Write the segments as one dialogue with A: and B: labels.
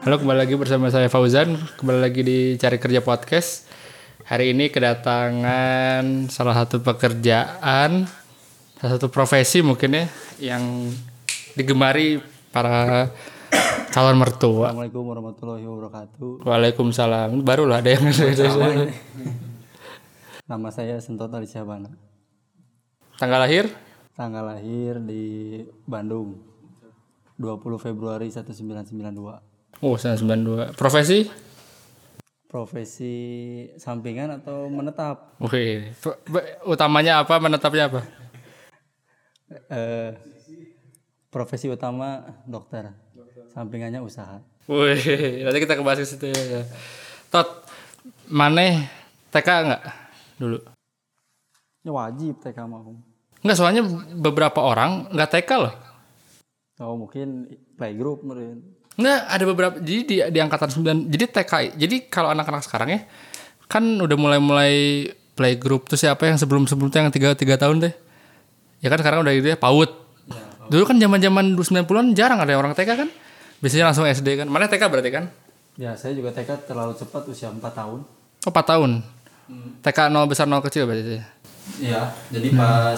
A: Halo kembali lagi bersama saya Fauzan Kembali lagi di Cari Kerja Podcast Hari ini kedatangan salah satu pekerjaan Salah satu profesi mungkin ya Yang digemari para calon mertua
B: Assalamualaikum warahmatullahi wabarakatuh.
A: Waalaikumsalam Baru lah ada yang
B: Nama saya Sentot Ali Syahbana.
A: Tanggal lahir
B: Tanggal lahir di Bandung. 20 Februari 1992.
A: Oh 92 Profesi
B: Profesi sampingan atau menetap?
A: Oke Utamanya apa menetapnya apa
B: Eh, profesi utama dokter. Sampingannya usaha.
A: Wih, nanti kita kebahas ke situ ya. Tot, Maneh TK nggak dulu?
B: Ya wajib TK mau.
A: Nggak, soalnya beberapa orang nggak TK loh.
B: Oh mungkin playgroup meren.
A: Nggak, ada beberapa. Jadi di, di angkatan 9, jadi TK. Jadi kalau anak-anak sekarang ya, kan udah mulai-mulai playgroup. Terus siapa yang sebelum-sebelumnya yang 3, tiga tahun deh? Ya kan sekarang udah gitu ya, PAUD. Dulu kan zaman-zaman 90-an jarang ada orang TK kan? Biasanya langsung SD kan. Maneh TK berarti kan?
B: Ya saya juga TK terlalu cepat usia 4 tahun.
A: Oh, 4 tahun. TK 0 besar 0 kecil berarti.
B: Iya, jadi pas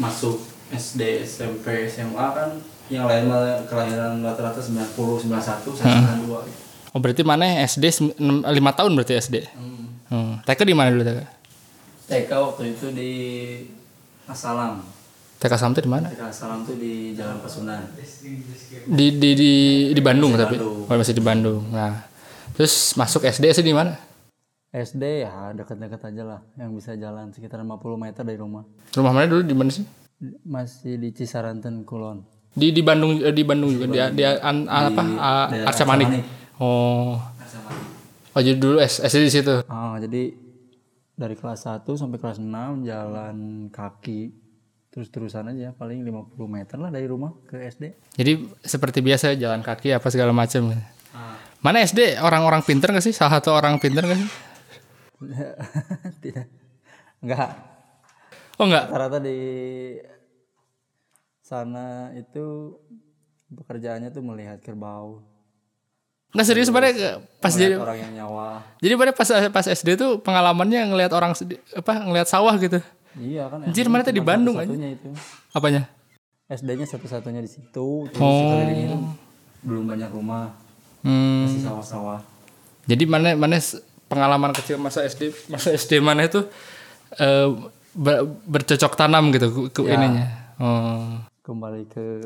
B: masuk SD, SMP, SMA kan yang lain mah kelahiran rata-rata 90, 91, 92. gitu.
A: Oh berarti mana SD 5 tahun berarti SD.
B: Hmm.
A: Hmm. TK di mana dulu TK?
B: TK waktu itu di Asalam.
A: TK Samte di mana?
B: TK Asalam tuh di Jalan Pasunan.
A: Di di di di Bandung tapi.
B: Bandung.
A: Oh, masih di Bandung. Nah. Terus masuk SD SD di mana?
B: SD ya deket-deket aja lah yang bisa jalan sekitar 50 meter dari rumah.
A: Rumah mana dulu di mana sih?
B: Masih di Cisaranten Kulon.
A: Di di Bandung eh, di Bandung juga di di, an- an- apa? A-
B: daerah
A: Arca Manik. Oh. Oh jadi dulu S- SD di situ.
B: Ah, jadi dari kelas 1 sampai kelas 6 jalan kaki terus-terusan aja paling 50 meter lah dari rumah ke SD.
A: Jadi seperti biasa jalan kaki apa segala macam. Mana SD orang-orang pinter gak sih? Salah satu orang pinter gak sih?
B: Tidak. Enggak.
A: Oh enggak.
B: Rata-rata di sana itu pekerjaannya tuh melihat kerbau,
A: Enggak serius sebenarnya pas jadi
B: orang yang nyawa.
A: Jadi pada pas pas SD tuh pengalamannya ngelihat orang sedi- apa ngelihat sawah gitu.
B: Iya kan.
A: Anjir,
B: SD
A: mana tadi
B: cuma
A: Bandung
B: satu-satunya itu.
A: Apanya?
B: SD-nya satu-satunya di situ. Terus
A: Oh.
B: sekelilingnya belum banyak rumah,
A: Hmm.
B: masih sawah-sawah.
A: Jadi mana mana s- pengalaman kecil masa SD masa SD mana itu eh, ber- bercocok tanam gitu ke, ke ininya. Oh.
B: Kembali ke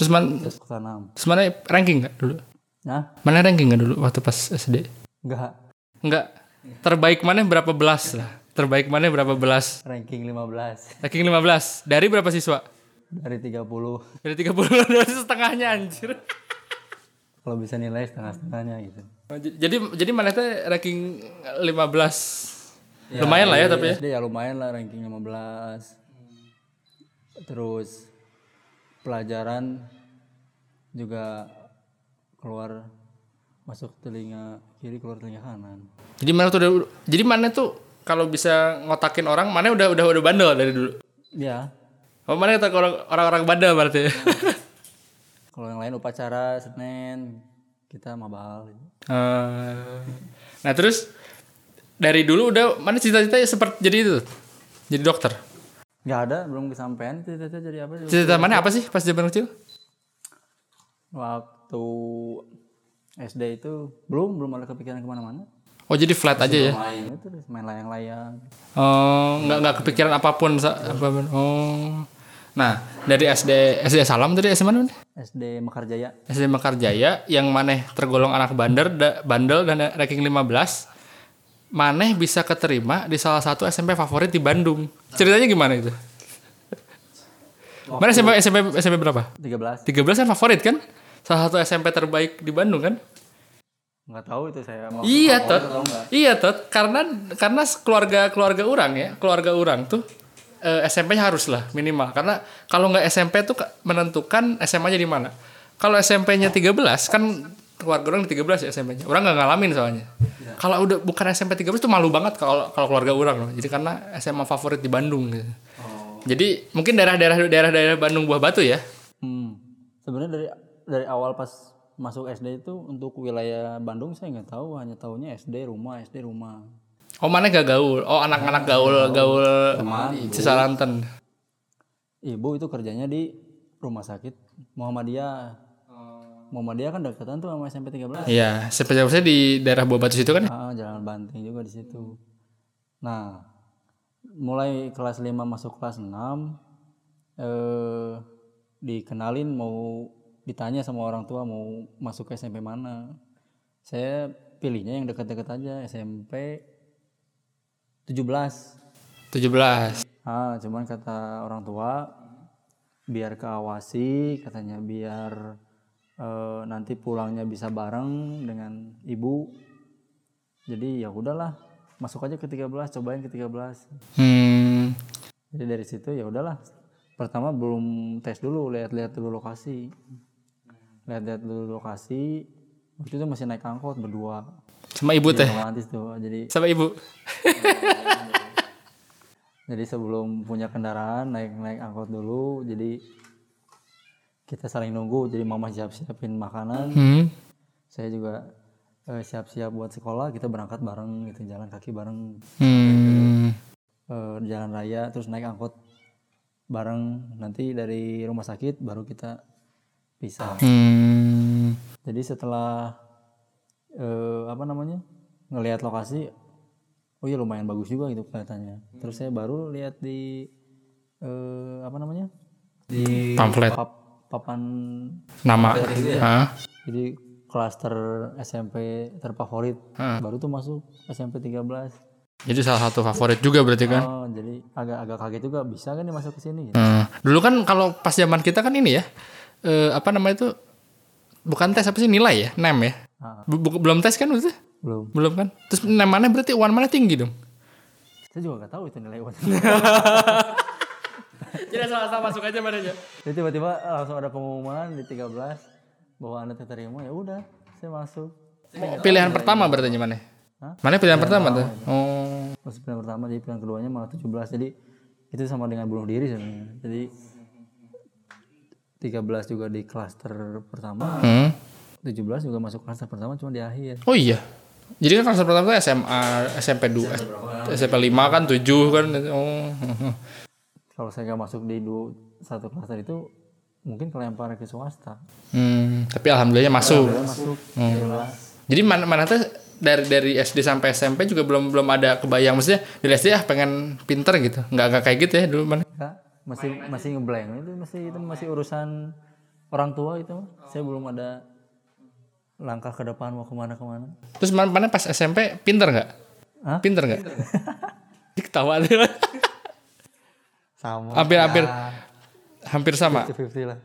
A: Terus man
B: terus tanam.
A: terus mana ranking nggak dulu?
B: Nah,
A: Mana ranking nggak dulu waktu pas SD?
B: enggak.
A: Enggak. Terbaik mana berapa belas lah? Terbaik mana berapa belas?
B: Ranking 15
A: Ranking 15. Dari berapa siswa?
B: dari 30.
A: Dari 30 dari setengahnya anjir.
B: Kalau bisa nilai setengah-setengahnya gitu.
A: Jadi jadi mana teh ranking 15. Lumayan lah ya tapi ya.
B: SD ya lumayan lah ranking 15. Terus pelajaran juga keluar masuk telinga kiri keluar telinga kanan.
A: Jadi mana tuh udah, jadi mana tuh kalau bisa ngotakin orang mana udah udah udah bandel dari dulu.
B: Ya,
A: Oh, mana kata orang- orang-orang bandel berarti. Eh,
B: kalau yang lain upacara Senin kita mabal.
A: Eh, nah, terus dari dulu udah mana cita-citanya seperti jadi itu. Jadi dokter.
B: Gak ada, belum kesampaian cita-cita jadi apa?
A: Cita-cita mana apa sih pas zaman kecil?
B: Waktu SD itu belum belum ada kepikiran kemana-mana.
A: Oh, jadi flat aja ya.
B: Main itu terus main layang-layang.
A: Oh, nggak nggak kepikiran apapun sa- apapun. Oh. Nah, dari SD SD Salam tadi SD mana?
B: SD Mekarjaya
A: SD Mekarjaya yang maneh tergolong anak bandel da- bandel dan ranking 15 maneh bisa keterima di salah satu SMP favorit di Bandung ceritanya gimana itu mana SMP, SMP SMP berapa
B: 13
A: 13 kan favorit kan salah satu SMP terbaik di Bandung kan
B: nggak tahu itu saya mau
A: iya tot
B: atau enggak
A: iya tot karena karena keluarga keluarga orang ya keluarga orang tuh eh, SMP-nya harus lah minimal karena kalau nggak SMP tuh ka- menentukan SMA-nya di mana kalau SMP-nya 13 kan keluarga orang di 13 ya SMP-nya orang nggak ngalamin soalnya kalau udah bukan SMP 13 tuh malu banget kalau kalau keluarga orang loh jadi karena SMA favorit di Bandung gitu. jadi mungkin daerah-daerah daerah-daerah Bandung Buah Batu ya
B: hmm. sebenarnya dari dari awal pas masuk SD itu untuk wilayah Bandung saya nggak tahu hanya tahunya SD rumah SD rumah
A: Oh mana gak gaul? Oh anak-anak gaul gaul Cisalanten.
B: ibu itu kerjanya di rumah sakit Muhammadiyah
A: Oh.
B: Muhammadiyah kan dekatan tuh sama SMP 13
A: Iya, seperti di daerah Buah Batu situ kan?
B: Ah, jalan banting juga di situ. Nah, mulai kelas 5 masuk kelas 6 eh dikenalin mau ditanya sama orang tua mau masuk ke SMP mana. Saya pilihnya yang dekat-dekat aja SMP 17.
A: 17.
B: Ah, cuman kata orang tua biar keawasi katanya biar eh, nanti pulangnya bisa bareng dengan ibu. Jadi ya udahlah, masuk aja ke 13, cobain ke 13.
A: Hmm.
B: Jadi dari situ ya udahlah. Pertama belum tes dulu, lihat-lihat dulu lokasi. Lihat-lihat dulu lokasi. Waktu itu masih naik angkot berdua.
A: Sama ibu teh.
B: Romantis tuh. Jadi
A: Sama ibu.
B: Jadi sebelum punya kendaraan naik-naik angkot dulu, jadi kita saling nunggu. Jadi mama siap-siapin makanan,
A: Hmm.
B: saya juga eh, siap-siap buat sekolah. Kita berangkat bareng, gitu jalan kaki bareng,
A: Hmm.
B: eh, jalan raya, terus naik angkot bareng. Nanti dari rumah sakit baru kita pisah.
A: Hmm.
B: Jadi setelah eh, apa namanya ngelihat lokasi, oh iya lumayan bagus juga gitu kelihatannya. Terus saya baru lihat di eh, apa namanya di
A: Pamflet
B: pap- papan,
A: nama. Hah?
B: jadi klaster SMP terfavorit. Baru tuh masuk SMP 13.
A: Jadi salah satu favorit juga berarti kan?
B: Oh, jadi agak-agak kaget juga bisa kan nih masuk ke sini. gitu.
A: Hmm. Dulu kan kalau pas zaman kita kan ini ya. Eh, apa namanya itu? Bukan tes apa sih nilai ya? Nem ya?
B: Ah.
A: Bu- bu- belum tes kan itu?
B: Belum.
A: Belum kan? Terus nem mana berarti uan mana tinggi dong?
B: Saya juga gak tahu itu nilai UAS.
A: Jadi asal-asal Iya, masuk aja mana aja.
B: Jadi tiba-tiba langsung ada pengumuman di 13 bahwa Anda terima ya udah, saya masuk.
A: Pilihan pertama berarti mana?
B: Hah?
A: Mana pilihan pertama tuh? Oh.
B: Masuk pilihan pertama jadi pilihan keduanya malah 17. Jadi itu sama dengan bunuh diri sebenarnya. Jadi 13 juga di klaster pertama,
A: Hmm.
B: 17 juga masuk klaster pertama cuma di akhir.
A: Oh iya. Jadi kan kelas pertama tuh SMA, SMP 2, SMP 5 kan 7 kan. Oh.
B: Kalau saya nggak masuk di dua, satu klaster itu mungkin kelempar ke swasta.
A: Hmm, tapi alhamdulillahnya masuk.
B: Saya masuk 13.
A: Jadi mana mana tuh dari dari SD sampai SMP juga belum belum ada kebayang maksudnya dari SD ah pengen pinter gitu. Nggak nggak kayak gitu ya dulu mana.
B: Enggak, masih masih ngeblank itu masih itu masih urusan orang tua itu mah. saya belum ada langkah ke depan mau kemana kemana
A: Terus mana, mana pas SMP pinter nggak?
B: Hah?
A: Pinter nggak? Ketawa deh.
B: sama
A: hampir hampir hampir sama.
B: 50 lah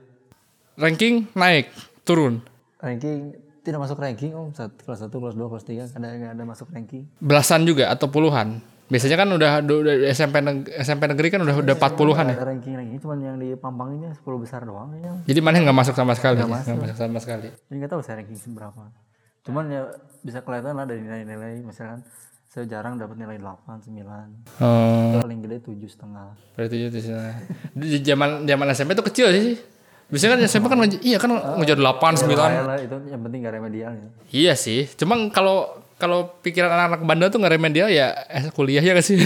A: Ranking naik turun.
B: ranking tidak masuk ranking om Sat- kelas satu kelas dua kelas tiga ada nggak ada masuk ranking
A: Belasan juga atau puluhan. Biasanya kan udah, udah SMP neg- SMP negeri kan udah udah 40-an ya.
B: ada ranking ranking cuman yang di Pampang ini 10 besar doang ya
A: Jadi mana nggak masuk sama sekali? Nggak masuk. sama sekali.
B: jadi nggak tahu saya ranking seberapa cuman ya bisa kelihatan lah dari nilai-nilai misalkan saya jarang dapat nilai 8, 9
A: Oh,
B: paling gede tujuh setengah
A: berarti itu sana. Di zaman zaman SMP itu kecil sih. Biasanya kan SMP kan ngejar, iya kan ngejar 8, 9.
B: Kayak lah itu yang penting nggak remedial ya
A: Iya sih. Cuma kalau kalau pikiran anak-anak bandel tuh ngeremen dia ya eh, kuliahnya gak sih.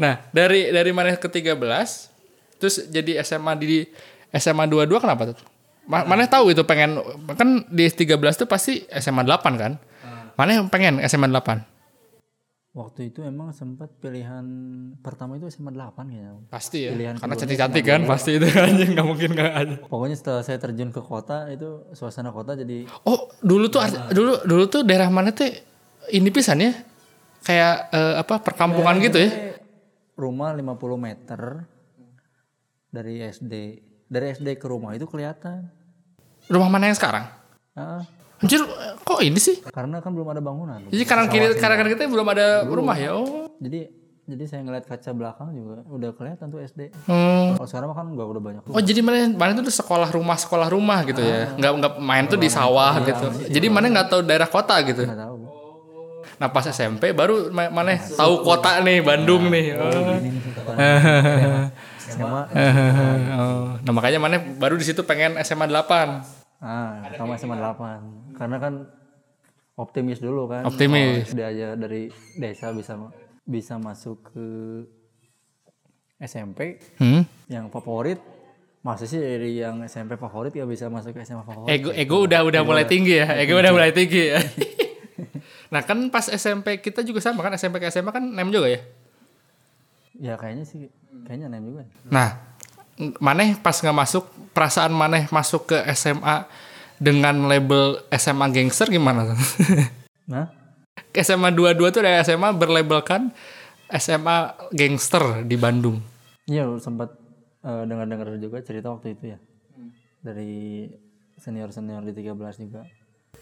A: nah, dari dari mana ke-13 terus jadi SMA di SMA 22 kenapa tuh?
B: Hmm.
A: Ma- Mana tahu itu pengen kan di 13 tuh pasti SMA 8 kan?
B: Hmm.
A: Mana yang pengen SMA 8?
B: Waktu itu emang sempat pilihan pertama itu SMA 8 kayaknya.
A: Pasti ya.
B: Pilihan
A: Karena cantik-cantik kan pasti itu anjing nggak mungkin nggak ada.
B: Pokoknya setelah saya terjun ke kota itu suasana kota jadi
A: Oh, dulu tuh
B: Hmm.
A: art- dulu dulu tuh daerah mana tuh ini pisan ya? Kayak eh, apa perkampungan gitu ya?
B: rumah 50 meter dari SD. Dari SD ke rumah itu kelihatan.
A: Rumah mana yang sekarang?
B: Ah,
A: Anjir, eh, kok ini sih?
B: karena kan belum ada bangunan.
A: Jadi kanan kiri kanan kanan kita belum ada rumah ya. Oh.
B: Jadi jadi saya ngeliat kaca belakang juga udah kelihatan tuh SD.
A: Hmm.
B: Kalau sekarang mah kan nggak udah banyak.
A: Oh, jadi mana mana tuh sekolah rumah sekolah rumah gitu ya. Nggak nggak main tuh di sawah gitu. Jadi mana nggak tahu daerah kota gitu.
B: Nggak tahu.
A: Nah, pas SMP baru ma- mana tahu kota nih Bandung nih. Oh.
B: SMA
A: Oh. Nah, makanya mana baru di situ pengen SMA 8.
B: Ah, pertama SMA 8. Karena kan optimis dulu kan.
A: Optimis.
B: Oh, dia aja dari desa bisa bisa masuk ke SMP
A: Hmm?
B: yang favorit. Masa sih dari yang SMP favorit ya bisa masuk ke SMA favorit?
A: Oh, Ego ego udah udah mulai tinggi ya. Ego udah mulai tinggi ya. nah, kan pas SMP kita juga sama kan SMP ke SMA kan nem juga ya.
B: Ya kayaknya sih kayaknya nem juga.
A: Nah, n- maneh pas nggak masuk perasaan maneh masuk ke SMA dengan label SMA gangster gimana?
B: Nah,
A: SMA 22 tuh dari SMA berlabelkan SMA gangster di Bandung.
B: iya lu sempat eh, dengar-dengar juga cerita waktu itu ya. Dari senior-senior di 13 juga.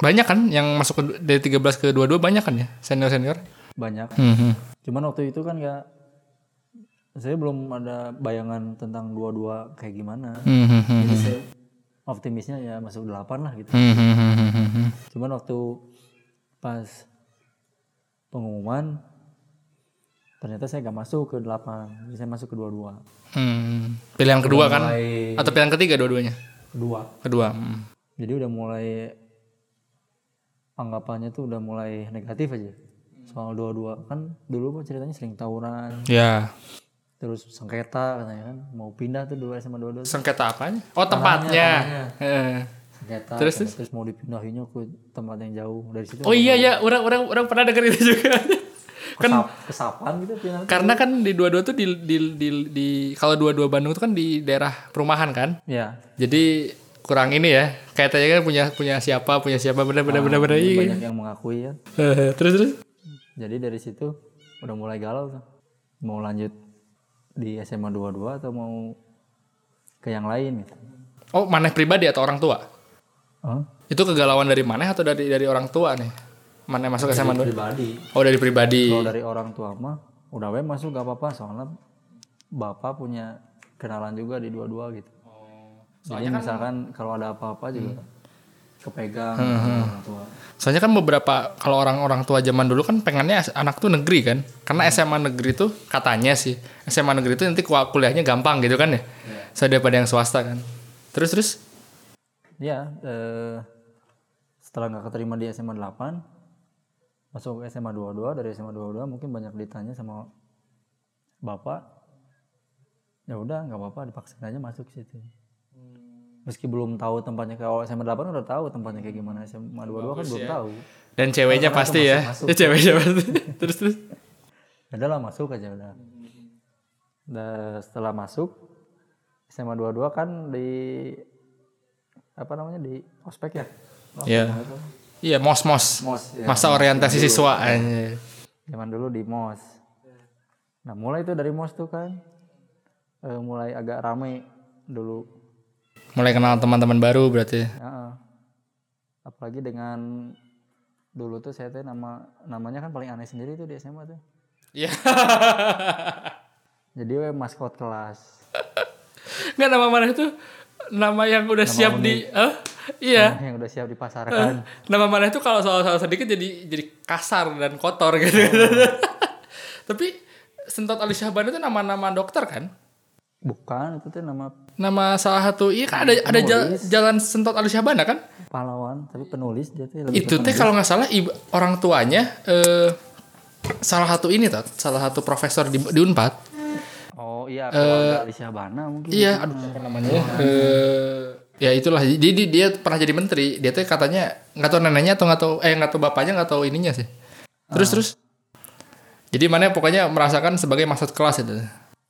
A: Banyak kan yang masuk ke, dari 13 ke 22 banyak kan ya senior-senior?
B: Banyak
A: Hmm, hmm.
B: Cuman waktu itu kan nggak, saya belum ada bayangan tentang dua-dua kayak gimana.
A: Hmm, hmm, hmm,
B: Jadi saya optimisnya ya masuk delapan lah gitu.
A: hmm, hmm, hmm, hmm, hmm, hmm.
B: Cuman waktu pas pengumuman ternyata saya nggak masuk ke delapan, jadi saya masuk ke dua-dua.
A: Hmm. Pilihan kedua kan?
B: Mulai
A: Atau pilihan ketiga dua-duanya?
B: kedua.
A: Kedua. hmm.
B: Jadi udah mulai anggapannya tuh udah mulai negatif aja soal dua-dua kan dulu mah ceritanya sering tawuran
A: Ya.
B: terus sengketa katanya kan mau pindah tuh dua sama dua-dua
A: Sengketa apanya? Oh, tempatnya. Eh.
B: sengketa terus, terus mau dipindahinnya ke tempat yang jauh dari situ
A: Oh iya ya, orang orang orang pernah denger itu juga. kan
B: kesap- kesapan gitu pindah
A: karena kan di dua-dua tuh di di di, di- kalau dua-dua Bandung tuh kan di daerah perumahan kan.
B: ya
A: Jadi kurang ini ya. Kayak tanya kan punya punya siapa, punya siapa bener bener bener bener. iya.
B: banyak yang mengakui ya
A: Eh, terus terus.
B: jadi dari situ udah mulai galau tuh mau lanjut di SMA 22 atau mau ke yang lain gitu
A: Oh, maneh pribadi atau orang tua?
B: Hah?
A: Itu kegalauan dari maneh atau dari dari orang tua nih? Maneh masuk SMA dua?
B: pribadi
A: Oh, dari pribadi.
B: kalau dari orang tua mah udah we masuk gak apa-apa soalnya bapak punya kenalan juga di dua-dua gitu jadi misalkan kalau ada apa-apa juga kepegang sama orang tua
A: Soalnya kan beberapa kalau orang-orang tua zaman dulu kan pengennya as- anak tuh negeri kan. Karena SMA negeri tuh katanya sih SMA negeri tuh nanti kua- kuliahnya gampang gitu kan ya. Saya daripada yang swasta kan. Terus terus
B: Ya, eh, setelah nggak keterima di SMA 8, masuk ke SMA 22, dari SMA 22 mungkin banyak ditanya sama bapak, ya udah nggak apa-apa dipaksain aja masuk ke situ. Meski belum tahu tempatnya kalau SMA 8 udah tahu tempatnya kayak gimana SMA 22 kan belum tahu.
A: dan ceweknya pasti ya. Ya, ceweknya pasti. terus terus.
B: Ya Udah lah masuk aja udah. Dan setelah masuk SMA 22 kan di apa namanya di ospek ya.
A: Iya. Iya, mos-mos.
B: Mos ya.
A: Masa orientasi siswa anjir.
B: Zaman dulu di MOS. Nah mulai itu dari MOS tuh kan eh, mulai agak rame dulu.
A: Mulai kenal teman-teman baru berarti.
B: Heeh. Apalagi dengan dulu tuh saya teh nama namanya kan paling aneh sendiri tuh di SMA tuh.
A: Iya.
B: Jadi we maskot kelas.
A: Enggak nama mana itu nama yang udah siap di eh? Iya.
B: yang udah siap dipasarkan.
A: Nama mana itu kalau salah-salah sedikit jadi jadi kasar dan kotor gitu. Tapi Sentot Ali Syahban itu nama-nama dokter kan?
B: Bukan itu tuh nama
A: Nama salah satu iya kan ada ada jal- jalan Sentot Ali Syahbana kan?
B: pahlawan tapi penulis dia tuh lebih ke
A: Itu teh kalau nggak salah ibu, orang tuanya eh, salah satu ini tot, salah satu profesor di, di Unpad.
B: Oh iya keluarga Alicia Bana
A: eh,
B: mungkin. gitu.
A: Iya, aduh apa namanya? Eh, ya itulah. Jadi dia, dia pernah jadi menteri. Dia tuh katanya nggak tahu neneknya atau nggak tahu eh nggak tahu bapaknya nggak tahu ininya sih. Terus terus. Jadi mana pokoknya merasakan sebagai maksud kelas itu.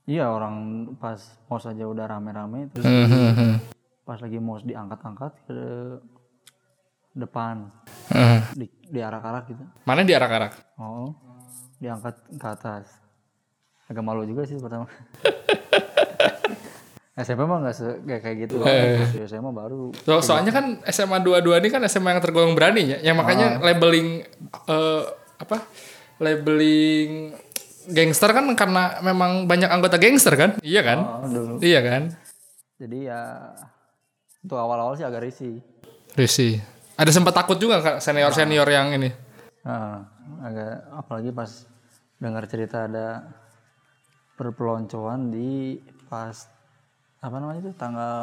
B: Iya orang pas mos aja udah rame-rame terus
A: Hmm, hmm, hmm.
B: pas lagi mos diangkat-angkat ke depan
A: Hmm.
B: di, diarak-arak gitu.
A: Mana diarak-arak?
B: Oh, diangkat ke atas. Agak malu juga sih pertama. SMP mah nggak se- nggak kayak gitu. Pas SMA baru
A: So- soalnya kan SMA 22 ini kan SMA yang tergolong berani ya. Yang makanya labeling eh, apa? Labeling gangster kan karena memang banyak anggota gangster kan? Iya kan?
B: oh, dulu.
A: Iya kan?
B: Jadi ya untuk awal-awal sih agak risih.
A: Risi. Ada sempat takut juga Kak, senior-senior yang ini.
B: Nah, agak apalagi pas dengar cerita ada perpeloncoan di pas apa namanya itu tanggal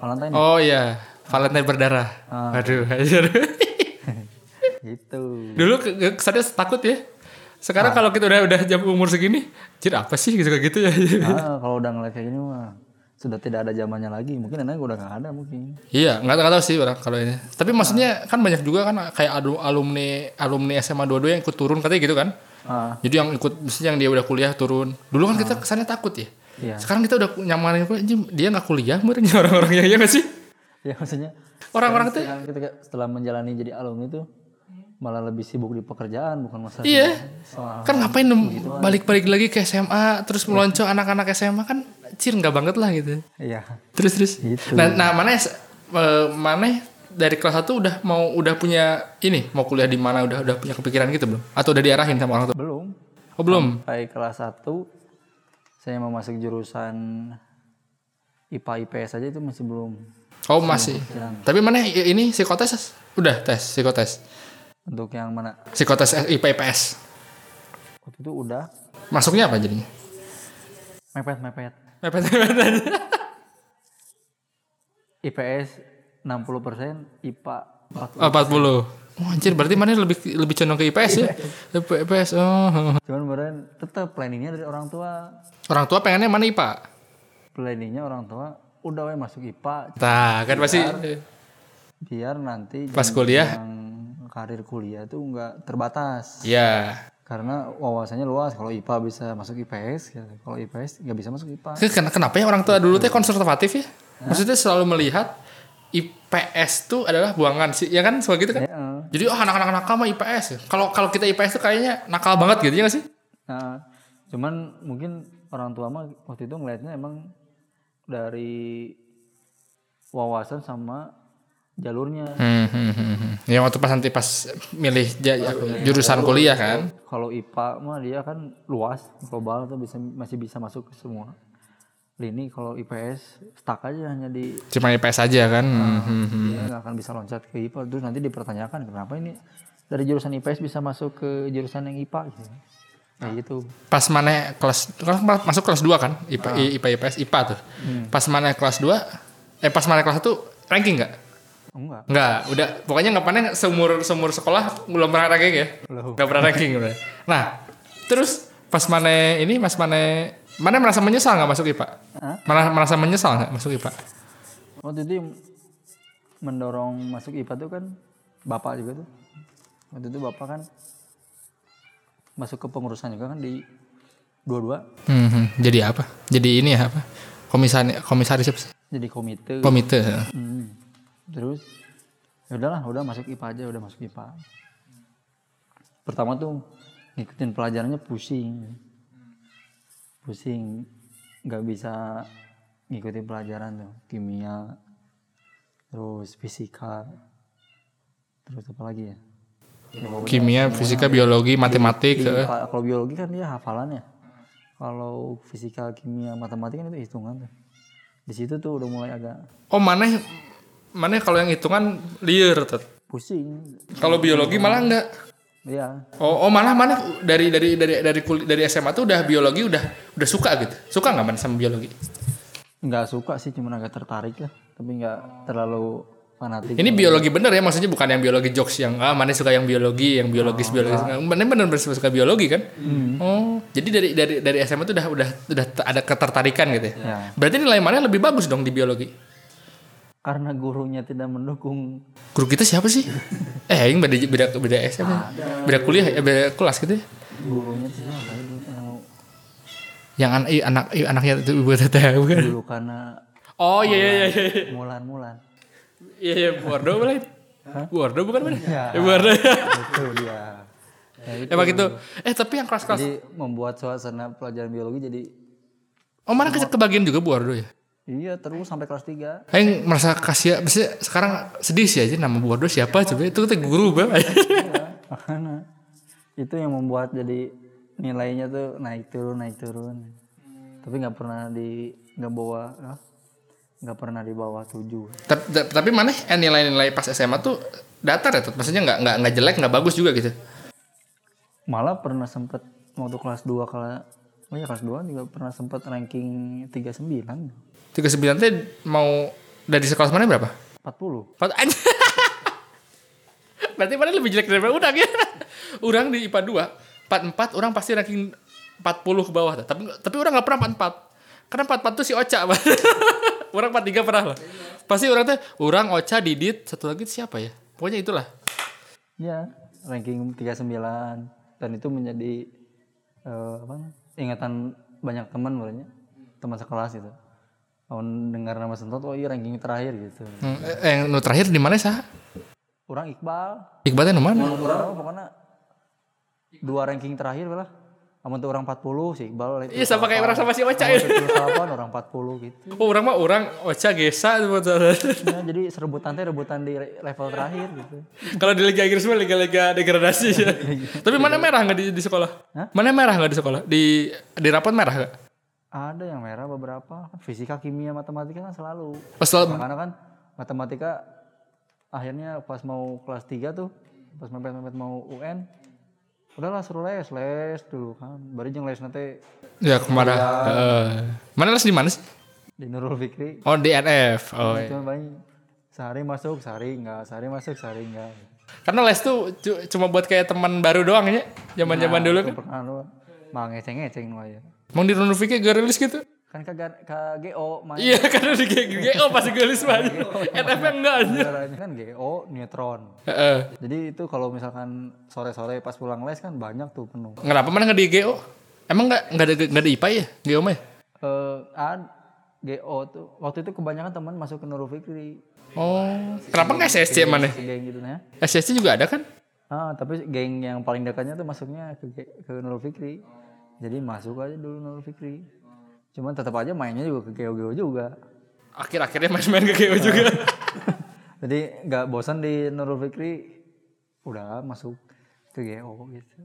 B: Valentine
A: Oh iya, Valentine berdarah. Aduh, hajar.
B: gitu
A: Dulu ke- ke- kesannya takut ya. Sekarang kalau kita udah udah jam umur segini, jir apa sih gitu kayak gitu ya.
B: Ah, kalau udah ngeliat kayak gini mah sudah tidak ada zamannya lagi mungkin enak udah nggak ada mungkin
A: iya, nggak nggak tahu sih orang kalau ini. Tapi maksudnya kan banyak juga kan kayak alu- alumni alumni SMA 22 yang ikut turun katanya gitu kan.
B: ah
A: Jadi yang ikut misalnya yang dia udah kuliah turun. Dulu kan kita kesannya takut ya.
B: Iya.
A: Sekarang kita udah nyamanin kuliah, anjing, dia nggak kuliah, merenya orang-orang yang ya nggak sih?
B: ya maksudnya
A: Orang-orang tuh
B: sekarang ketika setelah menjalani jadi alumni itu malah lebih sibuk di pekerjaan bukan masalah
A: Iya.
B: soal gitu
A: Kan ngapain nem- balik-balik lagi ke SMA terus melonco anak-anak SMA kan cir nggak banget lah gitu.
B: iya
A: Terus terus.
B: Gitu.
A: Nah, nah mana eh, mana dari kelas 1 udah mau udah punya ini mau kuliah di mana udah udah punya kepikiran gitu belum? Atau udah diarahin sama orang tua?
B: belum
A: Oh belum.
B: sampai kelas 1 saya mau masuk jurusan IPA IPS aja itu masih belum
A: Oh masih. Tapi mana i- ini psikotes udah tes psikotes.
B: untuk yang mana
A: Psikotes IPA IPS.
B: waktu itu udah
A: Masuknya apa jadinya?
B: mepet mepet
A: Mepet mepet aja.
B: IPS 60% IPA 40.
A: Oh, 40. Oh, anjir berarti mana lebih lebih condong ke IPS ya? IPS. Oh.
B: cuman beneran tetap planningnya dari orang tua
A: Orang tua pengennya mana IPA?
B: planningnya orang tua udah we masuk IPA
A: Nah, kan pasti
B: biar nanti
A: pas kuliah.
B: yang karir kuliah tuh nggak terbatas
A: Ya.
B: karena wawasannya luas kalau IPA bisa masuk IPS gitu. kalau IPS nggak bisa masuk IPA
A: Ke- ken- Kenapa ya orang tua dulu teh konservatif ya? Maksudnya selalu melihat IPS tuh adalah buangan sih, ya kan? Soal gitu kan.
B: Heeh.
A: Jadi oh, anak-anak nakal mah IPS. ya? Kalau kalau kita IPS tuh kayaknya nakal banget gitu ya nggak sih?
B: Nah, cuman mungkin orang tua mah waktu itu ngelihatnya emang dari wawasan sama jalurnya.
A: Hmm, hmm, hmm, hmm. Ya waktu pas nanti pas milih ja- ya, jurusan kuliah kan.
B: Kalau IPA mah dia kan luas, global tuh bisa masih bisa masuk ke semua. Lini kalau IPS stuck aja hanya di
A: Cuma IPS aja kan. Hmm, hmm, hmm.
B: dia nggak akan bisa loncat ke IPA terus nanti dipertanyakan kenapa ini dari jurusan IPS bisa masuk ke jurusan yang IPA gitu. Kayak gitu.
A: Pas mana kelas kelas- masuk kelas 2 kan? IPA IPA IPS IPA tuh. Pas mana kelas 2 eh pas mana kelas 1 ranking nggak?
B: Enggak.
A: Enggak, udah pokoknya nggak pernah seumur seumur sekolah belum pernah ranking ya.
B: Belum.
A: Nggak pernah ranking udah. Nah, terus pas mana ini mas mana mana merasa menyesal nggak masuk IPA?
B: Hah?
A: Mana merasa menyesal nggak masuk IPA?
B: waktu itu yang mendorong masuk IPA tuh kan bapak juga tuh waktu itu bapak kan masuk ke pengurusan juga kan di dua-dua
A: Hmm, hmm. jadi apa? Jadi ini ya apa? Komisaris komisaris apa sih?
B: jadi komite
A: komite. ya.
B: Hmm. terus ya udahlah udah masuk IPA aja udah masuk IPA pertama tuh ngikutin pelajarannya pusing pusing nggak bisa ngikutin pelajaran tuh kimia terus fisika terus apa lagi ya
A: Kimia, fisika, biologi, matematik. eh.
B: Ka- kalau biologi kan dia hafalannya kalau fisika kimia matematika kan itu hitungan tuh di situ tuh udah mulai agak
A: Oh, mana mana kalau yang hitungan liar Tet.
B: pusing
A: Kalau biologi malah enggak.
B: ya
A: Oh, oh malah mana dari dari dari dari kul- dari SMA tuh udah biologi udah udah suka gitu. Suka nggak mana sama biologi?
B: nggak suka sih cuman agak tertarik lah tapi nggak terlalu fanatik
A: Ini biologi bener ya maksudnya bukan yang biologi jokes yang ah mana suka yang biologi, yang biologis biologis. Mana bener bener suka biologi kan? Oh, jadi dari dari dari SMA tuh udah udah udah t- ada ketertarikan gitu ya.
B: Ya.
A: Berarti nilai mana lebih bagus dong di biologi?
B: karena gurunya tidak mendukung
A: Guru kita siapa sih? eh, yang beda beda beda SMA. Beda kuliah ya, beda kelas gitu ya.
B: gurunya tuh siapa ya dulu Yang
A: Yang an- i- anak i- anaknya itu ibu teteh bukan?
B: dulu karena
A: Oh iya iya iya iya.
B: Mulan Mulan
A: Iya iya Bordeaux bukan? Bordeaux bukan mana?
B: Iya.
A: Ya, Bordeaux.
B: itu dia Ya, itu.
A: Emang gitu. Eh tapi yang kelas-kelas.
B: jadi membuat suasana pelajaran biologi jadi
A: Oh mana ke kebagian juga Bordeaux ya?
B: iya terus sampai kelas 3
A: Aing merasa kasihan, maksudnya sekarang sedih sih aja nama bodoh siapa coba itu teh guru bang.
B: karena itu yang membuat jadi nilainya tuh naik turun naik turun tapi nggak pernah di nggak bawa ah, nggak pernah di bawah tujuh
A: Ta- ta- Tapi mana eh, nilai-nilai pas SMA tuh datar ya, Tut? maksudnya nggak nggak nggak jelek nggak bagus juga gitu.
B: malah pernah sempet waktu kelas 2 kala Oh ya kelas 2 juga pernah sempat ranking 39. 40.
A: 39 teh mau dari sekelas mana berapa? Pat- Anj- Berarti mana lebih jelek daripada udang ya? Urang di IPA 2, 44 orang pasti ranking 40 ke bawah. dah. Tapi tapi orang nggak pernah 44. Karena 44 tuh si Oca. Pak. orang 43 pernah lah. Pasti orang teh orang Oca, Didit, satu lagi itu siapa ya? Pokoknya itulah.
B: Ya, ranking 39 dan itu menjadi eh, apa? ingatan banyak teman sebenarnya. Teman sekelas itu. Tahun dengar nama Sentot, oh iya ranking terakhir gitu.
A: Hmm, eh, yang nu terakhir di mana sah?
B: Orang Iqbal,
A: Iqbal teh nu mana?
B: orang pokoknya dua ranking terakhir lah. Amun tuh orang 40 si Iqbal.
A: Iya sama kayak orang sama si Oca.
B: Amun
A: ya.
B: tuh terus lawan, orang 40 gitu.
A: Oh, orang mah orang Oca Gesa
B: Ya, jadi serebutan teh rebutan di level terakhir gitu.
A: Kalau di Liga Inggris mah liga-liga degradasi ya. Tapi mana merah nggak di, di sekolah?
B: Hah?
A: Mana merah nggak di sekolah? Di di rapot merah nggak?
B: Ada yang merah beberapa. Kan Fisika, kimia, matematika kan selalu.
A: Pas sel-
B: Karena kan matematika akhirnya pas mau kelas 3 tuh, pas mepet-mepet mau UN, udahlah suruh les, les dulu kan. Baru jeung les nanti
A: ya kemana? Heeh. mana les di mana sih?
B: di Nurul Fikri.
A: Oh di NF. Oh, iya.
B: Cuma paling sehari masuk, sehari enggak, sehari masuk, sehari enggak.
A: Karena les tuh cu- cuma buat kayak teman baru doang ya. Zaman-zaman dulu kan.
B: Itu perkenalan doang. Mah ngeceng-ngeceng mah ya.
A: Mau di Rono Fikri gak rilis gitu?
B: Kan kagak GO main.
A: Iya karena di GG. Oh pas gue rilis banget. NF yang enggak aja.
B: kan GO neutron.
A: Heeh.
B: Jadi itu kalau misalkan sore-sore pas pulang les kan banyak tuh penuh.
A: Kenapa mana nggak di GO? Emang nggak nggak ada nggak ada IPA ya? GO mah? ya?
B: Eh ad GO tuh waktu itu kebanyakan teman masuk ke Nurul Fikri
A: Oh. Kenapa nggak SSC mana?
B: si geng gitu nah.
A: SSC juga ada kan?
B: Ah, tapi geng yang paling dekatnya tuh masuknya ke ge- ke Nurul Fikri. Jadi masuk aja dulu Nurul Fikri. Cuman tetap aja mainnya juga ke GO GO juga.
A: akhir-akhirnya main-main ke KO juga.
B: Jadi nggak bosan di Nurul Fikri udah masuk ke GO gitu.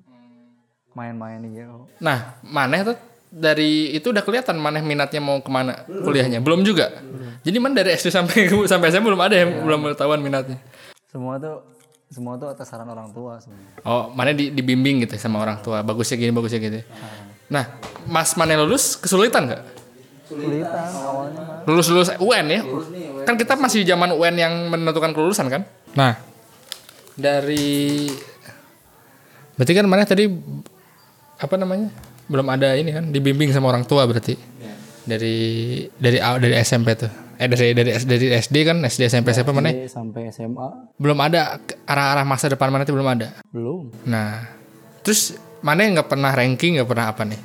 B: Main-main di GO.
A: nah, maneh tuh dari itu udah kelihatan maneh minatnya mau kemana kuliahnya. Belum juga. Jadi mana dari SD sampai sampai SMA belum ada yang belum ketahuan minatnya.
B: Semua tuh semua tuh atas saran orang tua sebenarnya.
A: Oh, mana di, dibimbing gitu sama orang tua. Bagusnya gini, bagusnya gitu. Nah, Mas Maneh lulus kesulitan nggak?
B: Kulitan awalnya mah.
A: Lulus lulus UN ya? Kan kita masih zaman UN yang menentukan kelulusan kan? Nah, dari berarti kan mana tadi apa namanya belum ada ini kan dibimbing sama orang tua berarti dari dari aw- dari SMP tuh eh dari dari dari SD kan SD SMP SMP mana
B: SD sampai SMA
A: belum ada ke- arah-arah masa depan mana tuh belum ada
B: belum.
A: Nah, terus mana yang nggak pernah ranking nggak pernah apa nih?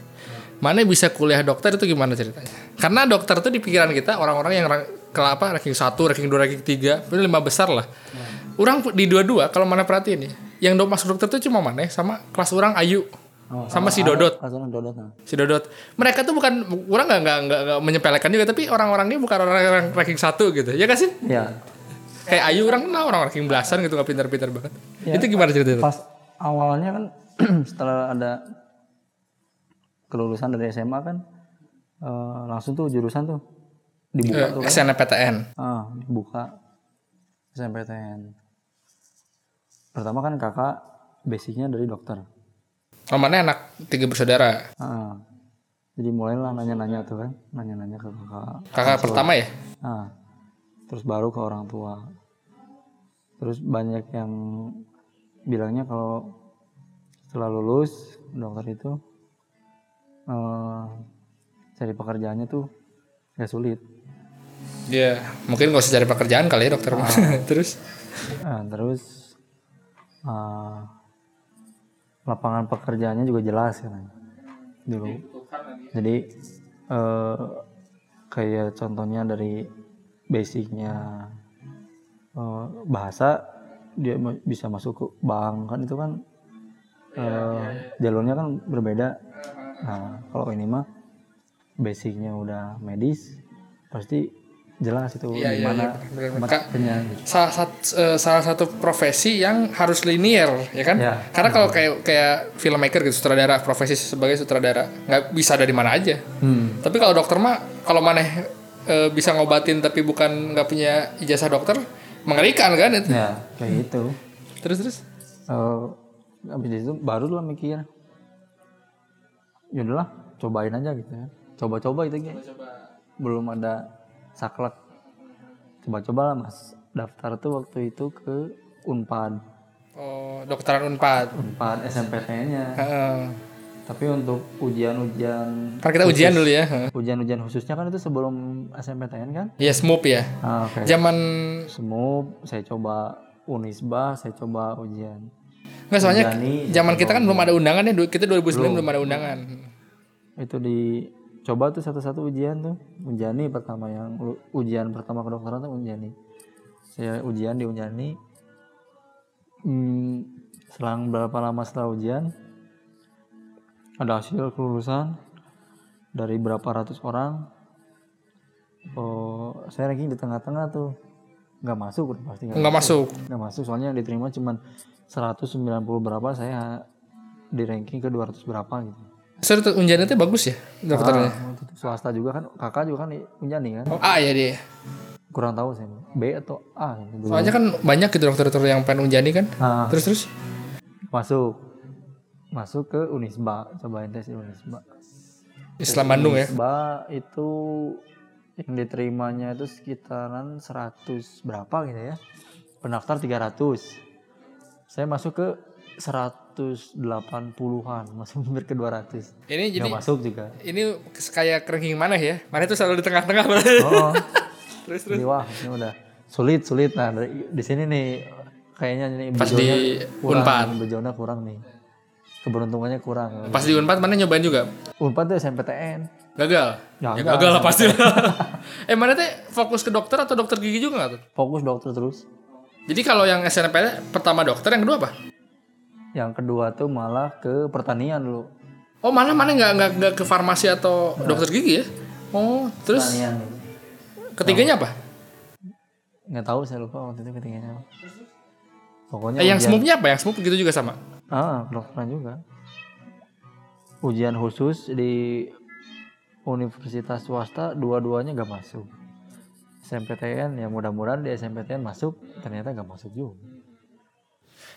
A: Mana bisa kuliah dokter itu gimana ceritanya? Karena dokter tuh di pikiran kita orang-orang yang ra- kela apa ranking 1, ranking 2, ranking 3, itu lima besar lah. Orang di dua-dua kalau mana perhatiin nih, yang do- masuk dokter tuh cuma mana sama kelas orang Ayu. sama si Dodot,
B: Kasus Dodot nah.
A: si Dodot. Mereka tuh bukan orang nggak nggak nggak- nggak menyepelekan juga, tapi orang-orangnya bukan orang-orang ranking satu gitu, ya gak sih?
B: Ya.
A: Kayak Ayu orang kenal orang ranking belasan gitu nggak pintar-pintar banget. Itu gimana ceritanya?
B: Iya. Pas awalnya kan setelah ada kelulusan dari SMA kan eh, langsung tuh jurusan tuh
A: Eh,
B: dibuka Iya,
A: Iya.
B: tuh.
A: SNPTN.
B: Ah, dibuka SMPTN. Pertama kan kakak basicnya dari dokter.
A: Oh mana anak tiga bersaudara?
B: Ah, jadi mulailah nanya-nanya tuh kan, nanya-nanya ke kakak.
A: Kakak pertama ya?
B: Nah, terus baru ke orang tua. Terus banyak yang bilangnya kalau setelah lulus dokter itu eh, cari pekerjaannya tuh gak sulit.
A: Iya. Mungkin gak usah cari pekerjaan kali ya dokter. Terus?
B: Nah, terus eh, lapangan pekerjaannya juga jelas kan dulu. Jadi eh, kayak contohnya dari basicnya eh, bahasa dia ma- bisa masuk ke bank kan itu kan eh, jalurnya kan berbeda. Nah kalau ini mah basicnya udah medis pasti jelas itu
A: Iya,
B: gimana tempatnya gitu.
A: Salah satu, eh, salah satu profesi yang harus linier ya kan?
B: Iya.
A: Karena kalau kayak kayak filmmaker gitu sutradara profesi sebagai sutradara nggak bisa dari mana aja. Tapi kalau dokter mah kalau maneh eh, bisa ngobatin tapi bukan nggak punya ijazah dokter mengerikan kan itu.
B: Ya, kayak gitu.
A: Terus terus?
B: Eh, abis itu baru lah mikir. Ya udahlah, cobain aja gitu ya coba-coba gitu Ge. belum ada saklek coba-coba lah mas daftar tuh waktu itu ke unpad
A: Oh, dokteran Unpad.
B: unpad SMPTN-nya
A: Heeh.
B: tapi untuk ujian-ujian
A: Karena kita ujian dulu ya. Heeh.
B: ujian-ujian khususnya kan itu sebelum SMPTN kan
A: Ya, smooth ya.
B: ah, oke
A: Zaman
B: Semua saya coba unisba saya coba ujian
A: nggak soalnya
B: Ujani,
A: zaman kita kan belum ada undangan ya. Du- Kita 2009 belum, ada undangan.
B: itu dicoba tuh satu-satu ujian tuh unjani pertama yang u- ujian pertama kedokteran tuh unjani saya ujian di unjani Hmm, selang berapa lama setelah ujian ada hasil kelulusan dari berapa ratus orang oh saya ranking di tengah-tengah tuh nggak masuk udah pasti nggak
A: Nggak masuk.
B: nggak masuk soalnya yang diterima cuman 190 berapa saya di ranking ke 200 berapa gitu
A: Soalnya tuh unjannya tuh bagus ya dokternya.
B: Ah, waktu itu swasta juga kan kakak juga kan di Unjani kan
A: Oh, A ya dia.
B: kurang tahu saya B atau A gitu dulu.
A: Soalnya kan banyak gitu dokter-dokter yang pengen unjani kan.
B: Ah,
A: Terus terus
B: masuk masuk ke Unisba cobain tes di Unisba
A: Islam Bandung ya.
B: Unisba itu yang diterimanya itu sekitaran 100 berapa gitu ya pendaftar 300 saya masuk ke 180-an masuk hampir ke 200
A: Ini jadi
B: nggak masuk juga
A: ini kayak ranking mana ya? Mana itu selalu di tengah-tengah.
B: oh.
A: terus terus.
B: Jadi, wah ini udah sulit sulit nah dari- di sini nih kayaknya ini
A: Pas di
B: bejonya kurang,
A: Unpad.
B: bejona kurang nih keberuntungannya kurang
A: Pas di Unpad mana nyobain juga?
B: unpad tuh SMPTN
A: Gagal. Ya,
B: Gagal.
A: gagal lah pasti. eh mana teh fokus ke dokter atau dokter gigi juga nggak tuh?
B: fokus dokter terus
A: Jadi kalau yang SNP pertama dokter, yang kedua apa?
B: yang kedua tuh malah ke pertanian dulu
A: Oh malah mana nggak nggak nggak ke farmasi atau dokter gigi ya? Oh terus
B: pertanian
A: ketiganya apa?
B: nggak tahu saya lupa waktu itu ketiganya apa. pokoknya
A: Eh, yang
B: ujian-
A: smoothnya apa? Yang smooth gitu juga sama.
B: ah kedokteran juga ujian khusus di universitas swasta dua-duanya gak masuk SMPTN ya mudah-mudahan di SMPTN masuk ternyata gak masuk juga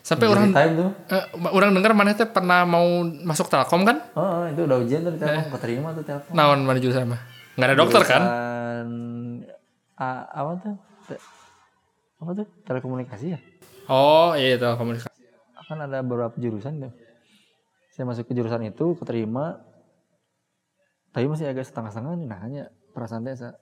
A: Sampai orang
B: time tuh
A: eh, orang dengar mana teh pernah mau masuk telkom kan?
B: oh, oh, itu udah ujian tuh di telepon keterima tuh telepon
A: Naon mana jurusan mah? Nggak ada dokter Eh. kan?
B: Dan a- apa tuh Te- apa tuh telekomunikasi ya
A: Oh iya itu komunikasi.
B: kan ada beberapa jurusan tuh saya masuk ke jurusan itu keterima tapi masih agak setengah-setengah nih nah hanya perasaan saya sa-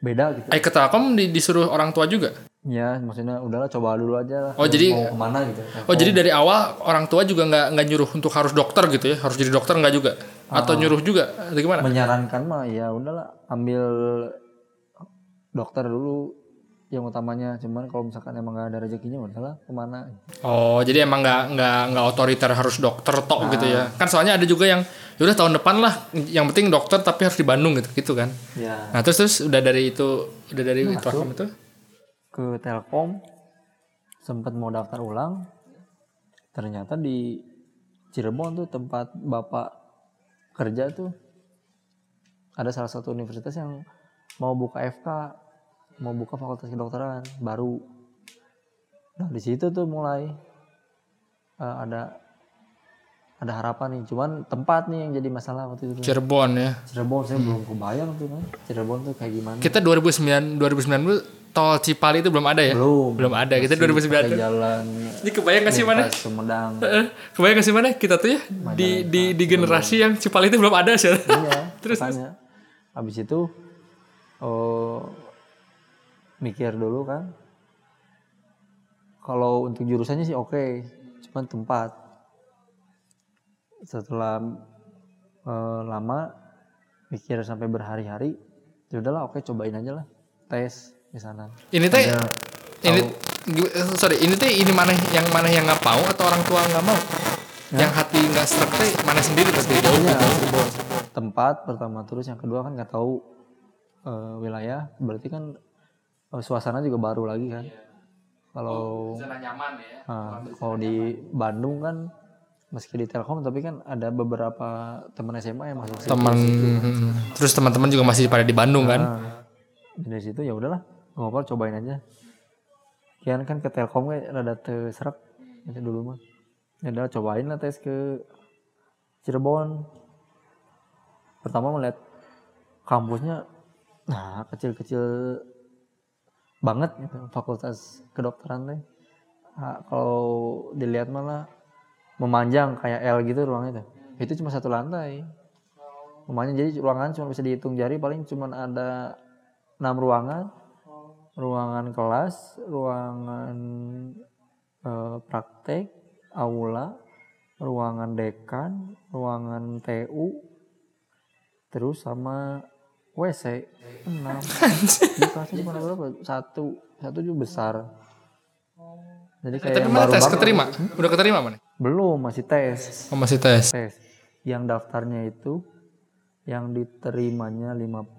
B: beda gitu
A: Eh ke telkom di- disuruh orang tua juga?
B: ya maksudnya udahlah coba dulu aja lah
A: Oh, jadi-
B: mau kemana gitu
A: Oh, jadi dari awal orang tua juga nggak nggak nyuruh untuk harus dokter gitu ya, harus jadi dokter nggak juga? Atau nyuruh juga? Atau gimana?
B: menyarankan mah ya udahlah ambil dokter dulu yang utamanya cuman kalau misalkan emang nggak ada rezekinya udahlah kemana
A: Oh, jadi emang nggak nggak nggak otoriter harus dokter tok gitu ya? Kan soalnya ada juga yang yaudah tahun depan lah, yang penting dokter tapi harus di Bandung gitu gitu kan?
B: ya
A: Nah terus terus udah dari itu udah dari itu Telkom itu?
B: ke Telkom sempat mau daftar ulang ternyata di Cirebon tuh tempat bapak kerja tuh ada salah satu universitas yang mau buka FK mau buka fakultas kedokteran baru nah di situ tuh mulai eh, ada ada harapan nih cuman tempat nih yang jadi masalah waktu itu
A: Cirebon ya.
B: Cirebon saya belum kebayang tuh kan Cirebon tuh kayak gimana
A: Kita 2009 2009 tol Cipali itu belum ada ya?
B: belum
A: Belum ada. Kita
B: Pakai
A: 2009.
B: jalan
A: Jadi kebayang nggak sih mana?
B: Pas Sumedang.
A: Eh, Kebayang nggak sih mana kita tuh ya di di di generasi yang Cipali itu belum ada sih.
B: iya, terus Habis itu oh, mikir dulu kan. Kalau untuk jurusannya sih oke, cuman tempat. Setelah eh, lama mikir sampai berhari-hari, ya udahlah oke cobain aja lah tes di sana.
A: Ini teh ini gi- eh, sorry, ini teh ini mana yang mana yang nggak mau atau orang tua nggak mau? Yang hati nggak serak teh mana sendiri tapi jauh.
B: Iya, Cirebon. tempat pertama terus yang kedua kan nggak tahu eh, wilayah berarti kan eh, suasana juga baru lagi kan kalau
A: nyaman ya.
B: ah, kalau di Bandung kan meski di Telkom tapi kan ada beberapa teman SMA yang masuk situ.
A: Teman terus teman-teman juga masih pada di Bandung kan?
B: Nah, dari situ ya udahlah ngobrol cobain aja kian kan ke Telkom kayak rada terserap itu dulu mah ya udah cobain lah tes ke Cirebon pertama melihat kampusnya nah kecil-kecil banget gitu fakultas kedokteran teh Ah, kalau dilihat malah memanjang kayak L gitu ruangnya tuh itu cuma satu lantai rumahnya jadi ruangan cuma bisa dihitung jari paling cuma ada enam ruangan ruangan kelas ruangan eh, praktek aula ruangan dekan ruangan TU terus sama WC enam di kelasnya cuma ada berapa satu satu juga besar jadi kayak
A: Tapi
B: yang
A: mana
B: baru
A: tes
B: banget.
A: keterima? Udah keterima mana?
B: belum masih tes
A: Oh, masih tes.
B: tes yang daftarnya itu yang diterimanya 50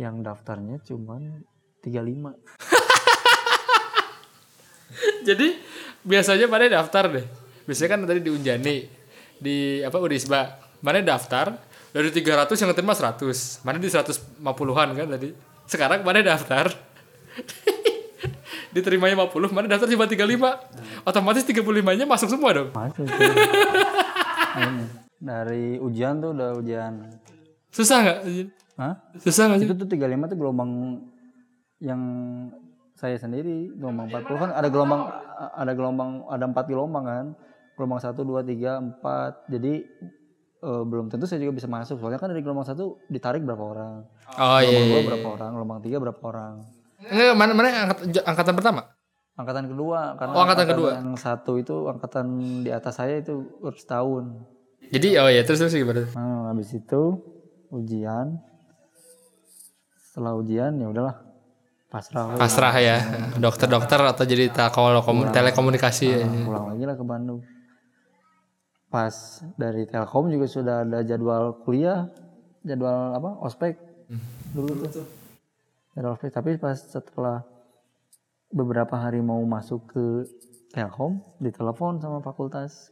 B: yang daftarnya cuman 35
A: Jadi biasanya mana daftar deh. Biasanya kan tadi diunjani di apa Udisba. Mana daftar dari 300 yang keterima 100. Mana di 150-an kan tadi. Sekarang mana daftar? Diterimanya 50, mana daftar cuma 35. Otomatis 35-nya masuk semua dong.
B: masih itu. Hmm. dari ujian tuh udah ujian
A: Susah nggak?
B: Hah?
A: Susah nggak sih?
B: itu tuh 35 tuh gelombang yang saya sendiri gelombang 40 kan ada gelombang ada gelombang ada empat gelombang kan gelombang 1 2 3 4 jadi eh, belum tentu saya juga bisa masuk soalnya kan dari gelombang satu ditarik berapa orang
A: Oh iya.
B: gelombang
A: iya.
B: dua berapa orang, gelombang tiga berapa orang.
A: Enggak, mana mana angkat- angkatan pertama?
B: Angkatan kedua, karena
A: Oh, angkatan kedua.
B: yang satu itu angkatan di atas saya itu urus tahun.
A: Jadi oh ya terus terus gimana?
B: Nah, habis itu ujian. Setelah ujian ya udahlah pasrah lah.
A: Pasrah ya, dokter-dokter atau jadi telekomunikasi, telekomunikasi ya.
B: pulang lagi lah ke Bandung. Pas dari Telkom juga sudah ada jadwal kuliah, jadwal apa? Ospek Hmm. dulu tuh. Jadwal ospek, tapi pas setelah beberapa hari mau masuk ke Telkom, ditelepon sama fakultas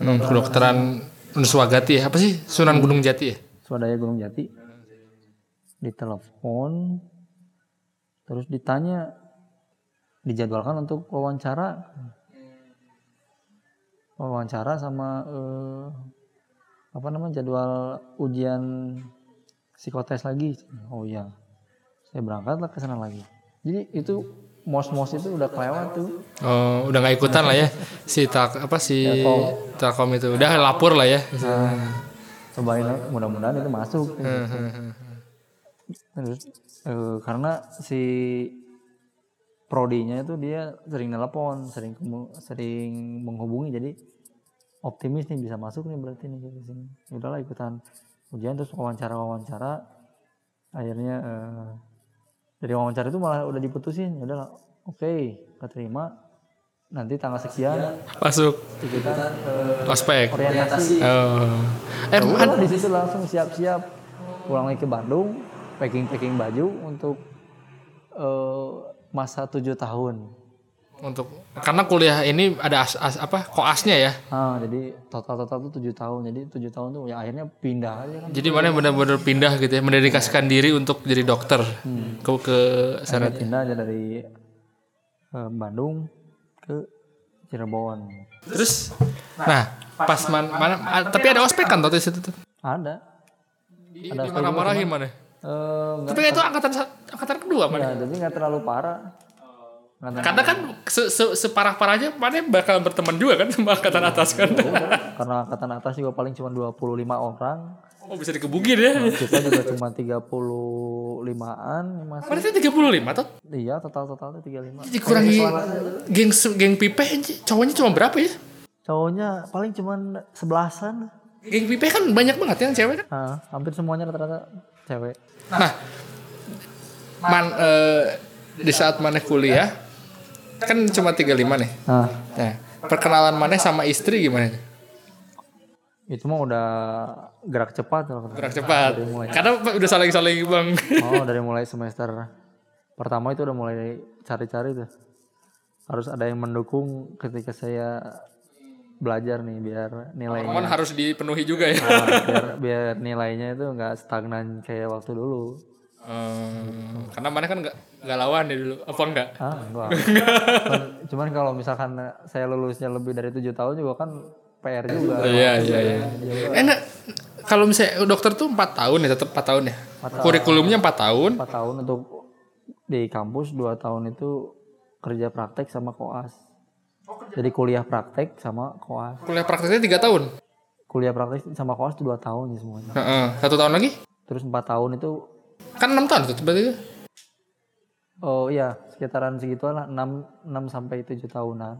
A: Hmm, kedokteran Nuswagati ya, apa sih Sunan Gunung Jati ya?
B: Swadaya Gunung Jati. Ditelepon terus ditanya dijadwalkan untuk wawancara. Wawancara sama eh, apa namanya jadwal ujian psikotes lagi. Oh iya. Saya berangkatlah ke sana lagi. Jadi itu mos-mos itu udah kelewat tuh.
A: Oh, udah nggak ikutan lah ya si tak apa si Telkom itu udah lapor lah ya.
B: Nah, cobain lah, mudah-mudahan itu masuk. Terus eh, karena si prodinya itu dia sering nelpon, sering kemu- sering menghubungi jadi optimis nih bisa masuk nih berarti nih ke sini. Udahlah ikutan ujian terus wawancara-wawancara akhirnya eh, dari wawancara itu malah udah diputusin, "Ya udahlah. Oke, keterima. Nanti tanggal sekian
A: Masuk
B: ikutan eh,
A: ospek.
B: orientasi
A: Oh. Eh,
B: Ya
A: man-
B: udah, di situ langsung siap-siap pulang lagi ke Bandung, packing-packing baju untuk eh, masa tujuh tahun.
A: untuk karena kuliah ini ada as, as- apa koasnya ya.
B: Ah, jadi total-total tuh tujuh tahun. Jadi tujuh tahun tuh ya akhirnya pindah aja kan.
A: Jadi mana benar-benar pindah gitu ya, mendedikasikan diri untuk jadi dokter ke ke sana.
B: Akhirnya pindah aja dari eh, Bandung ke Cirebon.
A: Terus, nah pas man, mana, ah, tapi ada ospek kan tuh di situ tuh.
B: Ada.
A: Di, marah-marahin mana?
B: Eh, nggak-
A: Tapi itu angkatan sa- angkatan kedua mana?
B: ya, jadi nggak terlalu parah. Nggak terlalu-
A: Karena kan se, se- separah-parahnya mana bakal berteman juga kan sama angkatan atas kan.
B: karena angkatan atas juga paling cuma 25 orang.
A: Oh bisa dikebukin ya.
B: Kita juga cuma 35-an mas.
A: Mana itu 35 tuh?
B: Iya, total totalnya 35.
A: Dikurangi geng se- geng pipe anjing, cowoknya cuma berapa ya?
B: Cowoknya paling cuman sebelasan.
A: Geng pipe kan banyak banget yang cewek kan.
B: Nah, hampir semuanya rata-rata cewek.
A: Nah, man eh, di saat mana kuliah kan cuma 35 nih.
B: Nah,
A: Nah, perkenalan mana sama istri gimana?
B: itu mah udah gerak cepat kalau kata-
A: Gerak cepat. Karena udah saling-saling bang.
B: Oh, dari mulai semester pertama itu udah mulai cari-cari tuh. Harus ada yang mendukung ketika saya belajar nih biar nilai
A: Cuman harus dipenuhi juga ya.
B: biar, biar nilainya itu nggak stagnan kayak waktu dulu.
A: Hmm, karena mana kan nggak nggak lawan ya dulu apa enggak
B: Ah, enggak. cuman, cuman kalau misalkan saya lulusnya lebih dari tujuh tahun juga kan PR juga.
A: iya iya iya enak kalau misalnya dokter tuh 4 tahun ya tetap 4 tahun ya. Kurikulumnya 4 tahun.
B: 4 tahun untuk di kampus, 2 tahun itu kerja praktek sama koas. Jadi kuliah praktek sama koas.
A: Kuliah prakteknya 3 tahun.
B: Kuliah praktek sama koas itu 2 tahun ya semuanya.
A: Heeh. Satu tahun lagi?
B: Terus 4 tahun itu
A: Kan 6 tahun tuh berarti. itu.
B: Oh iya, sekitaran segituan lah 6 6 sampai 7 tahunan.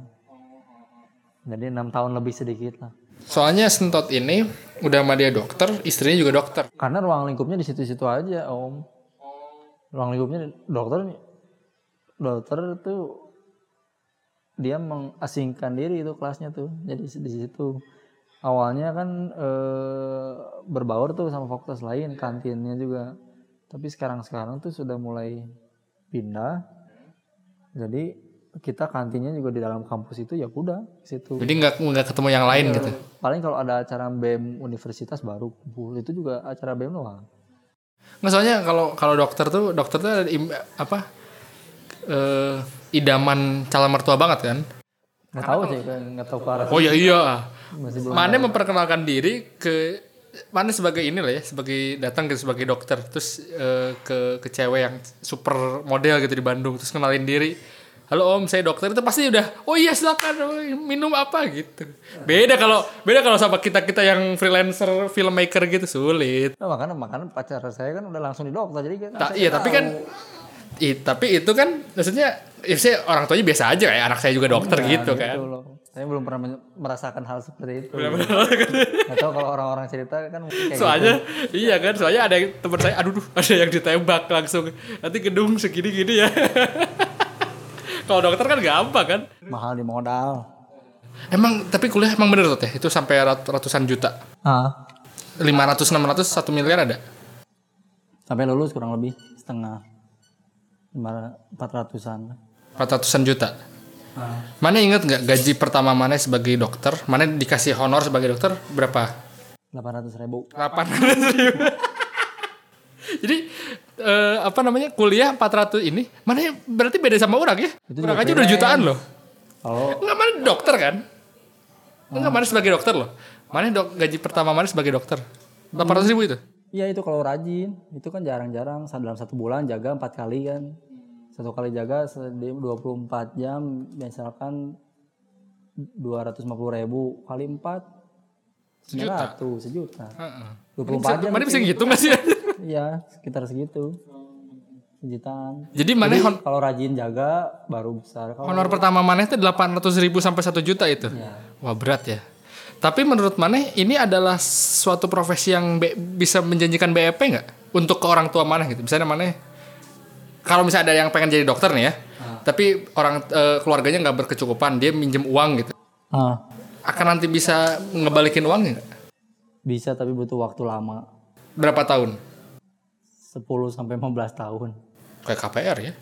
B: Jadi 6 tahun lebih sedikit lah.
A: Soalnya Sentot ini udah sama dia dokter, istrinya juga dokter.
B: Karena ruang lingkupnya di situ-situ aja, Om. Ruang lingkupnya dokter dokter tuh dia mengasingkan diri itu kelasnya tuh. Jadi di situ awalnya kan eh, berbaur tuh sama fakultas lain, kantinnya juga. Tapi sekarang-sekarang tuh sudah mulai pindah. Jadi kita kantinnya juga di dalam kampus itu ya udah di situ
A: Jadi nggak nggak ketemu yang lain gitu.
B: paling kalau ada acara BEM universitas baru kumpul itu juga acara BEM doang
A: Nggak soalnya kalau kalau dokter tuh dokter tuh ada im- apa eh, idaman calon mertua banget kan?
B: nggak tahu sih kayak nggak tahu ke arah
A: Oh iya iya.
B: masih belum
A: Mane memperkenalkan diri ke Mane sebagai ini lah ya, sebagai datang gitu sebagai dokter, terus eh, ke ke cewek yang super model gitu di Bandung, terus kenalin diri. Halo Om, saya dokter itu pasti udah. Oh iya silakan minum apa gitu. Beda kalau beda kalau sama kita kita yang freelancer filmmaker gitu sulit.
B: nah, makanya makanya pacar saya kan udah langsung di dokter jadi kan
A: Ta-
B: saya
A: iya
B: nggak
A: tapi
B: tahu.
A: kan, i, tapi itu kan maksudnya, ya saya orang tuanya biasa aja ya, anak saya juga dokter
B: Nah,
A: gitu kan.
B: loh. saya belum pernah men- merasakan hal seperti itu
A: Iya.
B: nggak tahu kalau orang-orang cerita kan mungkin kayak
A: kan soalnya iya kan soalnya ada yang- teman saya aduh duh, ada yang ditembak langsung nanti gedung segini gini ya kalau dokter kan gampang kan
B: gitu. mahal di modal
A: emang tapi kuliah emang bener tuh teh itu sampai rat- ratusan juta
B: ah
A: 500 600 1 miliar ada
B: sampai lulus kurang lebih setengah empat ratusan
A: 400-an juta
B: Ah.
A: mana inget nggak gaji pertama mana sebagai dokter mana dikasih honor sebagai dokter berapa
B: delapan ratus ribu
A: 800 ribu. Jadi eh, apa namanya kuliah 400 ini mana yang- berarti beda sama orang ya?
B: Itu
A: orang aja
B: juga
A: udah
B: freelance.
A: jutaan loh.
B: kalau
A: Enggak mana dokter kan? Enggak mana sebagai dokter loh. Mana dok gaji pertama mana sebagai dokter? 800 ribu itu.
B: Iya itu kalau rajin, itu kan jarang-jarang Sa- dalam satu bulan jaga empat kali kan,
A: Hmm.
B: satu kali jaga se- di 24 jam misalkan 250.000 ribu kali empat sejuta, sejuta,
A: Heeh.
B: 24 jam,
A: Mana bisa gitu nggak sih?
B: iya sekitar segitu, sejutaan.
A: Jadi mana hon-
B: Kalau rajin jaga baru besar kalau
A: honor pertama mana itu 800 ribu sampai 1 juta itu.
B: Iya.
A: Wah berat ya. Tapi menurut Maneh ini adalah suatu profesi yang be- bisa menjanjikan BEP nggak untuk ke orang tua Maneh gitu. Misalnya Maneh kalau misalnya ada yang pengen jadi dokter nih ya, tapi orang eh, keluarganya nggak berkecukupan, dia minjem uang gitu,
B: Ah,
A: akan nanti bisa ngebalikin uangnya nggak?
B: bisa tapi butuh waktu lama,
A: Berapa tahun?
B: 10 sampai 15 tahun.
A: Kayak KPR ya.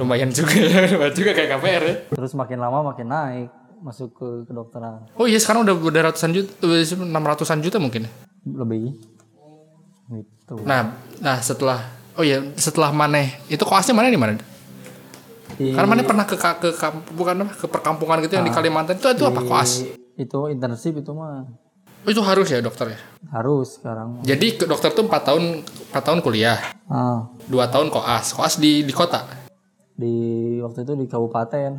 A: Lumayan juga ya, lumayan juga kayak KPR ya.
B: Terus makin lama makin naik masuk ke kedokteran.
A: Oh iya sekarang udah udah ratusan juta, enam ratusan juta mungkin ya.
B: lebih gitu
A: Nah, nah setelah oh iya setelah Maneh itu koasnya Maneh di mana?
B: Di-
A: Karena Maneh pernah ke ka- ke kamp- bukan apa, ke perkampungan gitu yang di Kalimantan itu itu apa koas?
B: itu internship itu mah
A: Oh, Itu harus ya dokter ya.
B: harus sekarang
A: Jadi ke dokter tuh 4 tahun 4 tahun kuliah,
B: ah
A: 2 tahun koas. Koas di di kota.
B: di waktu itu di kabupaten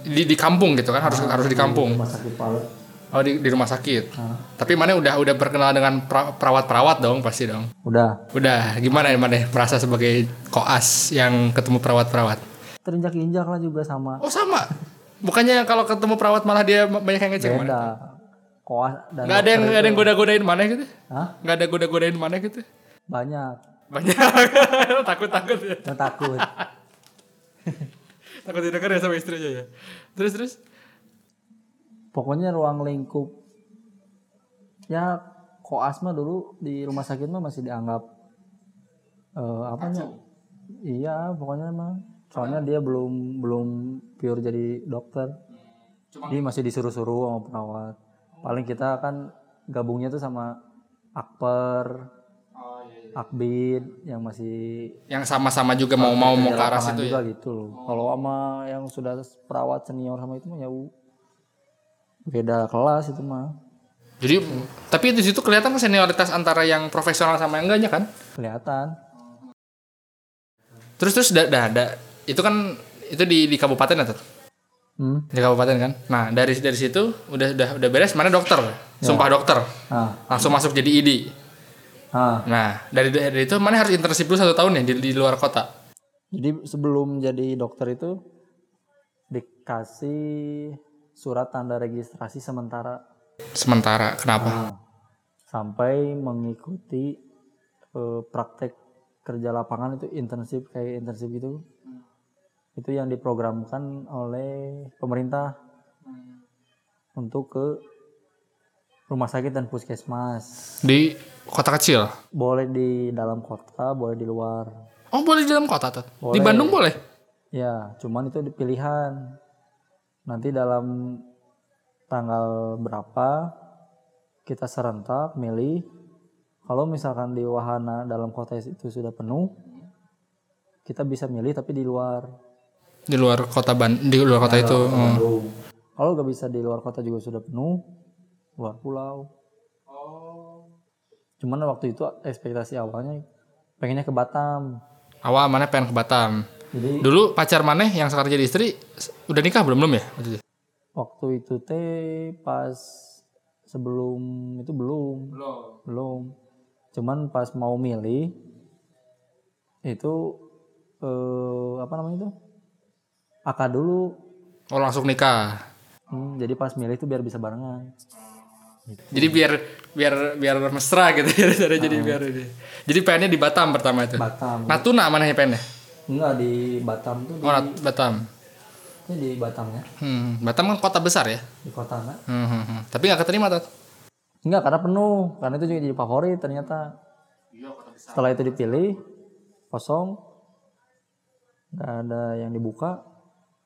A: Di di kampung gitu kan harus harus di kampung.
B: rumah sakit Palu
A: Oh di, di rumah sakit. Tapi Maneh udah udah berkenal dengan pra- perawat-perawat dong pasti dong.
B: udah
A: Udah gimana Maneh merasa sebagai koas yang ketemu perawat-perawat?
B: terinjak injak lah juga sama
A: Oh sama. Bukannya kalau ketemu perawat malah dia banyak yang ngecek mana?
B: beda koas dan
A: Gak ada yang nggak ada yang goda-godain mana gitu?
B: Hah?
A: Gak ada goda-godain mana gitu?
B: banyak
A: Banyak takut-takut ya.
B: Nggak takut
A: Takut didengar ya sama istrinya ya. Terus terus
B: pokoknya ruang lingkup ya koas mah dulu di rumah sakit mah masih dianggap eh apa iya pokoknya mah soalnya dia belum belum pure jadi dokter dia masih disuruh-suruh sama perawat paling kita kan gabungnya tuh sama akper akbid yang masih
A: yang sama-sama juga mau mau mau ke arah
B: lapangan
A: situ ya.
B: juga gitu loh. Kalau sama yang sudah perawat senior sama itu mah ya u- beda kelas itu mah.
A: Jadi tapi di situ kelihatan kan senioritas antara yang profesional sama yang enggaknya kan?
B: kelihatan
A: Terus terus da, da, da- itu kan itu di di kabupaten ya, Tut?
B: hmm.
A: Di kabupaten kan. Nah, dari dari situ udah udah udah beres mana dokter?
B: Ya.
A: Sumpah dokter.
B: ah
A: Langsung masuk jadi ID.
B: ah
A: Nah, dari dari itu mana harus internship dulu satu tahun ya di, di luar kota.
B: jadi sebelum jadi dokter itu dikasih surat tanda registrasi sementara
A: Sementara. Kenapa?
B: Nah, sampai mengikuti eh, praktek kerja lapangan itu internship kayak internship gitu itu yang diprogramkan oleh pemerintah untuk ke rumah sakit dan puskesmas
A: Di kota kecil.
B: boleh di dalam kota boleh di luar
A: Oh, boleh di dalam kota, Tut? Di Bandung boleh.
B: ya cuman itu di pilihan nanti dalam tanggal berapa kita serentak milih kalau misalkan di wahana dalam kota itu sudah penuh kita bisa milih tapi di luar
A: Di luar kota Ban di luar kota itu. Hmm.
B: kalau nggak bisa di luar kota juga sudah penuh luar pulau cuman waktu itu ekspektasi awalnya pengennya ke Batam
A: hmm. Awal mana pengen ke Batam.
B: jadi
A: Dulu pacar maneh yang sekarang jadi istri s- udah nikah belum belum ya? Waktu itu?
B: waktu itu teh pas sebelum itu belum belum cuman pas mau milih itu eh, apa namanya itu akad dulu
A: Oh langsung nikah.
B: Hmm, jadi pas milih itu biar bisa barengan
A: Jadi biar biar biar mesra gitu ya cara jadi biar ini. Jadi pengennya di Batam pertama itu.
B: Ah. Batam
A: Natuna manehnya pengennya?
B: enggak di Batam tuh di,
A: Oh Nat- Batam.
B: itu di Batamnya
A: Hmm, Batam kan kota besar ya.
B: di kota enggak
A: Hmm, hmm, hmm. Tapi nggak keterima tuh.
B: enggak karena penuh karena itu juga jadi favorit ternyata setelah itu dipilih kosong nggak ada yang dibuka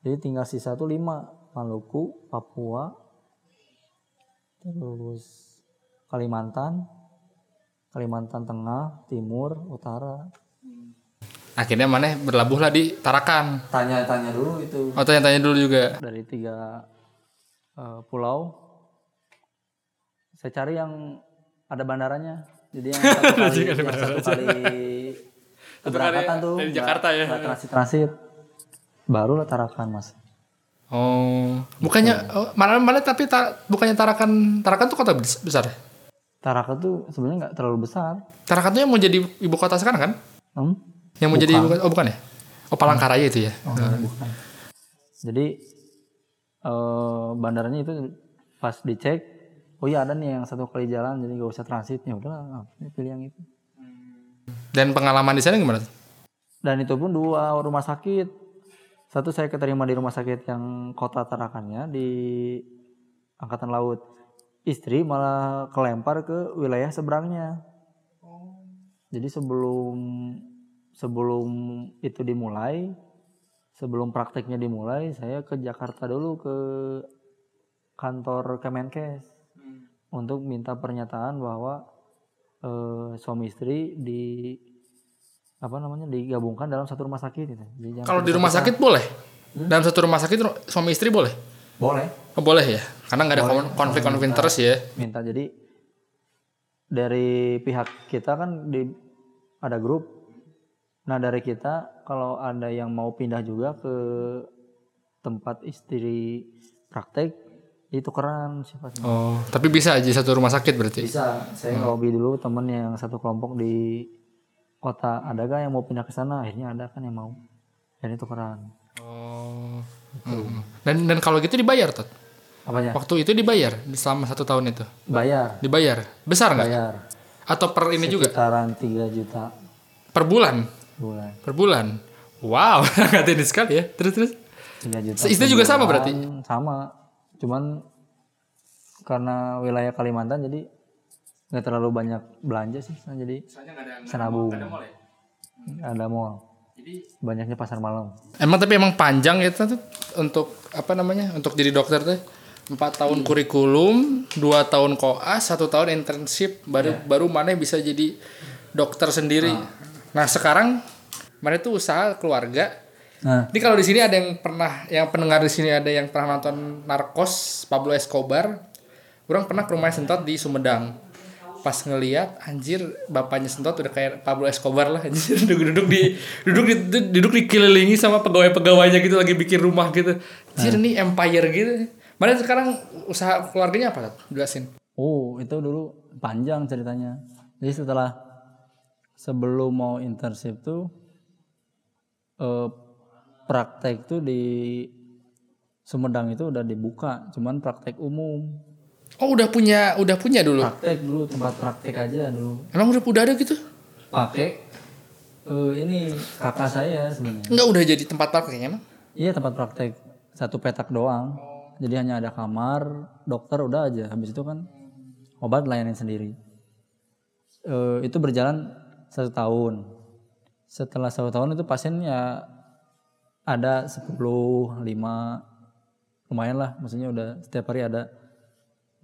B: jadi tinggal sisa tuh lima Maluku Papua terus Kalimantan Kalimantan Tengah Timur Utara
A: Akhirnya maneh berlabuhlah di Tarakan.
B: tanya-tanya dulu itu
A: Oh tanya-tanya dulu juga.
B: dari tiga eh, pulau saya cari yang ada bandaranya jadi yang satu kali, yang satu kali keberangkatan tuh
A: dari
B: nggak-
A: Jakarta ya.
B: nggak transit transit baru lah tarakan mas
A: Oh, bukannya oh, mana mana tapi ta- bukannya Tarakan Tarakan tuh kota bes- besar ya?
B: tarakan tuh sebenarnya nggak terlalu besar
A: Tarakan tuh yang mau jadi ibu kota sekarang kan?
B: hmm?
A: Yang mau jadi ibu kota, oh bukan ya? Oh Palangkaraya itu ya.
B: bukan jadi eh, bandaranya itu pas dicek oh iya ada nih yang satu kali jalan jadi nggak usah transit ya udahlah pilih yang itu
A: Dan pengalaman di sana gimana? tuh?
B: dan itu pun dua rumah sakit satu saya keterima di rumah sakit yang kota tarakannya di angkatan laut istri malah kelempar ke wilayah seberangnya jadi sebelum sebelum itu dimulai sebelum prakteknya dimulai saya ke Jakarta dulu ke kantor Kemenkes
A: Hmm.
B: untuk minta pernyataan bahwa eh, suami istri di apa namanya digabungkan dalam satu rumah sakit gitu. Jadi jangan
A: Kalau di rumah sakit boleh. Dalam satu rumah sakit ru- suami istri boleh.
B: boleh
A: Oh, boleh ya. Karena nggak ada kon- konflik konflik interest ya.
B: minta jadi dari pihak kita kan di ada grup. Nah dari kita kalau ada yang mau pindah juga ke tempat istri praktek itu keren sifatnya.
A: Oh, tapi bisa aja satu rumah sakit berarti.
B: Bisa. Saya lobby dulu temen yang satu kelompok di kota ada gak yang mau pindah ke sana akhirnya ada kan yang mau dan itu keren
A: Oh. Mm. Dan dan kalau gitu dibayar tuh.
B: apanya
A: Waktu itu dibayar selama satu tahun itu.
B: bayar
A: Dibayar. Besar nggak?
B: bayar
A: Atau per ini juga?
B: sekitaran 3 juta
A: Per bulan?
B: bulan
A: Per bulan. Wow, nggak ini sekali ya. Terus terus.
B: 3 juta
A: Istri juga sama berarti.
B: Hmm, sama cuman karena wilayah Kalimantan jadi nggak terlalu banyak belanja sih nah, jadi senabu Hmm, ada mall banyaknya pasar malam
A: Emang tapi emang panjang itu tuh untuk apa namanya? Untuk jadi dokter tuh. 4 tahun kurikulum, 2 tahun koas, 1 tahun internship baru baru mana bisa jadi dokter sendiri. Nah, sekarang mana tuh usaha keluarga.
B: nah
A: Ini kalau di sini ada yang pernah yang pendengar di sini ada yang pernah nonton Narcos Pablo Escobar. Orang pernah ke rumah Sentot di Sumedang. Pas ngeliat anjir bapaknya Sentot udah kayak Pablo Escobar lah anjir duduk-duduk di duduk di duduk dikelilingi sama pegawai-pegawainya gitu lagi bikin rumah gitu. Anjir ini empire gitu. Mana sekarang usaha keluarganya apa? Tat? Jelasin.
B: Oh, itu dulu panjang ceritanya. Jadi setelah sebelum mau internship tuh eh, praktek tuh di Sumedang itu udah dibuka, cuman praktek umum.
A: Oh udah punya udah punya dulu.
B: Praktek dulu tempat praktek aja dulu.
A: Emang udah udah ada gitu?
B: Pakai eh, ini kakak saya sebenarnya.
A: Enggak udah jadi tempat parkir kayaknya emang.
B: Iya tempat praktek satu petak doang. Jadi hanya ada kamar, dokter udah aja. Habis itu kan obat layanin sendiri. Eh, itu berjalan satu tahun. Setelah satu tahun itu pasien ya ada 10, 5 lumayan lah. Maksudnya udah setiap hari ada.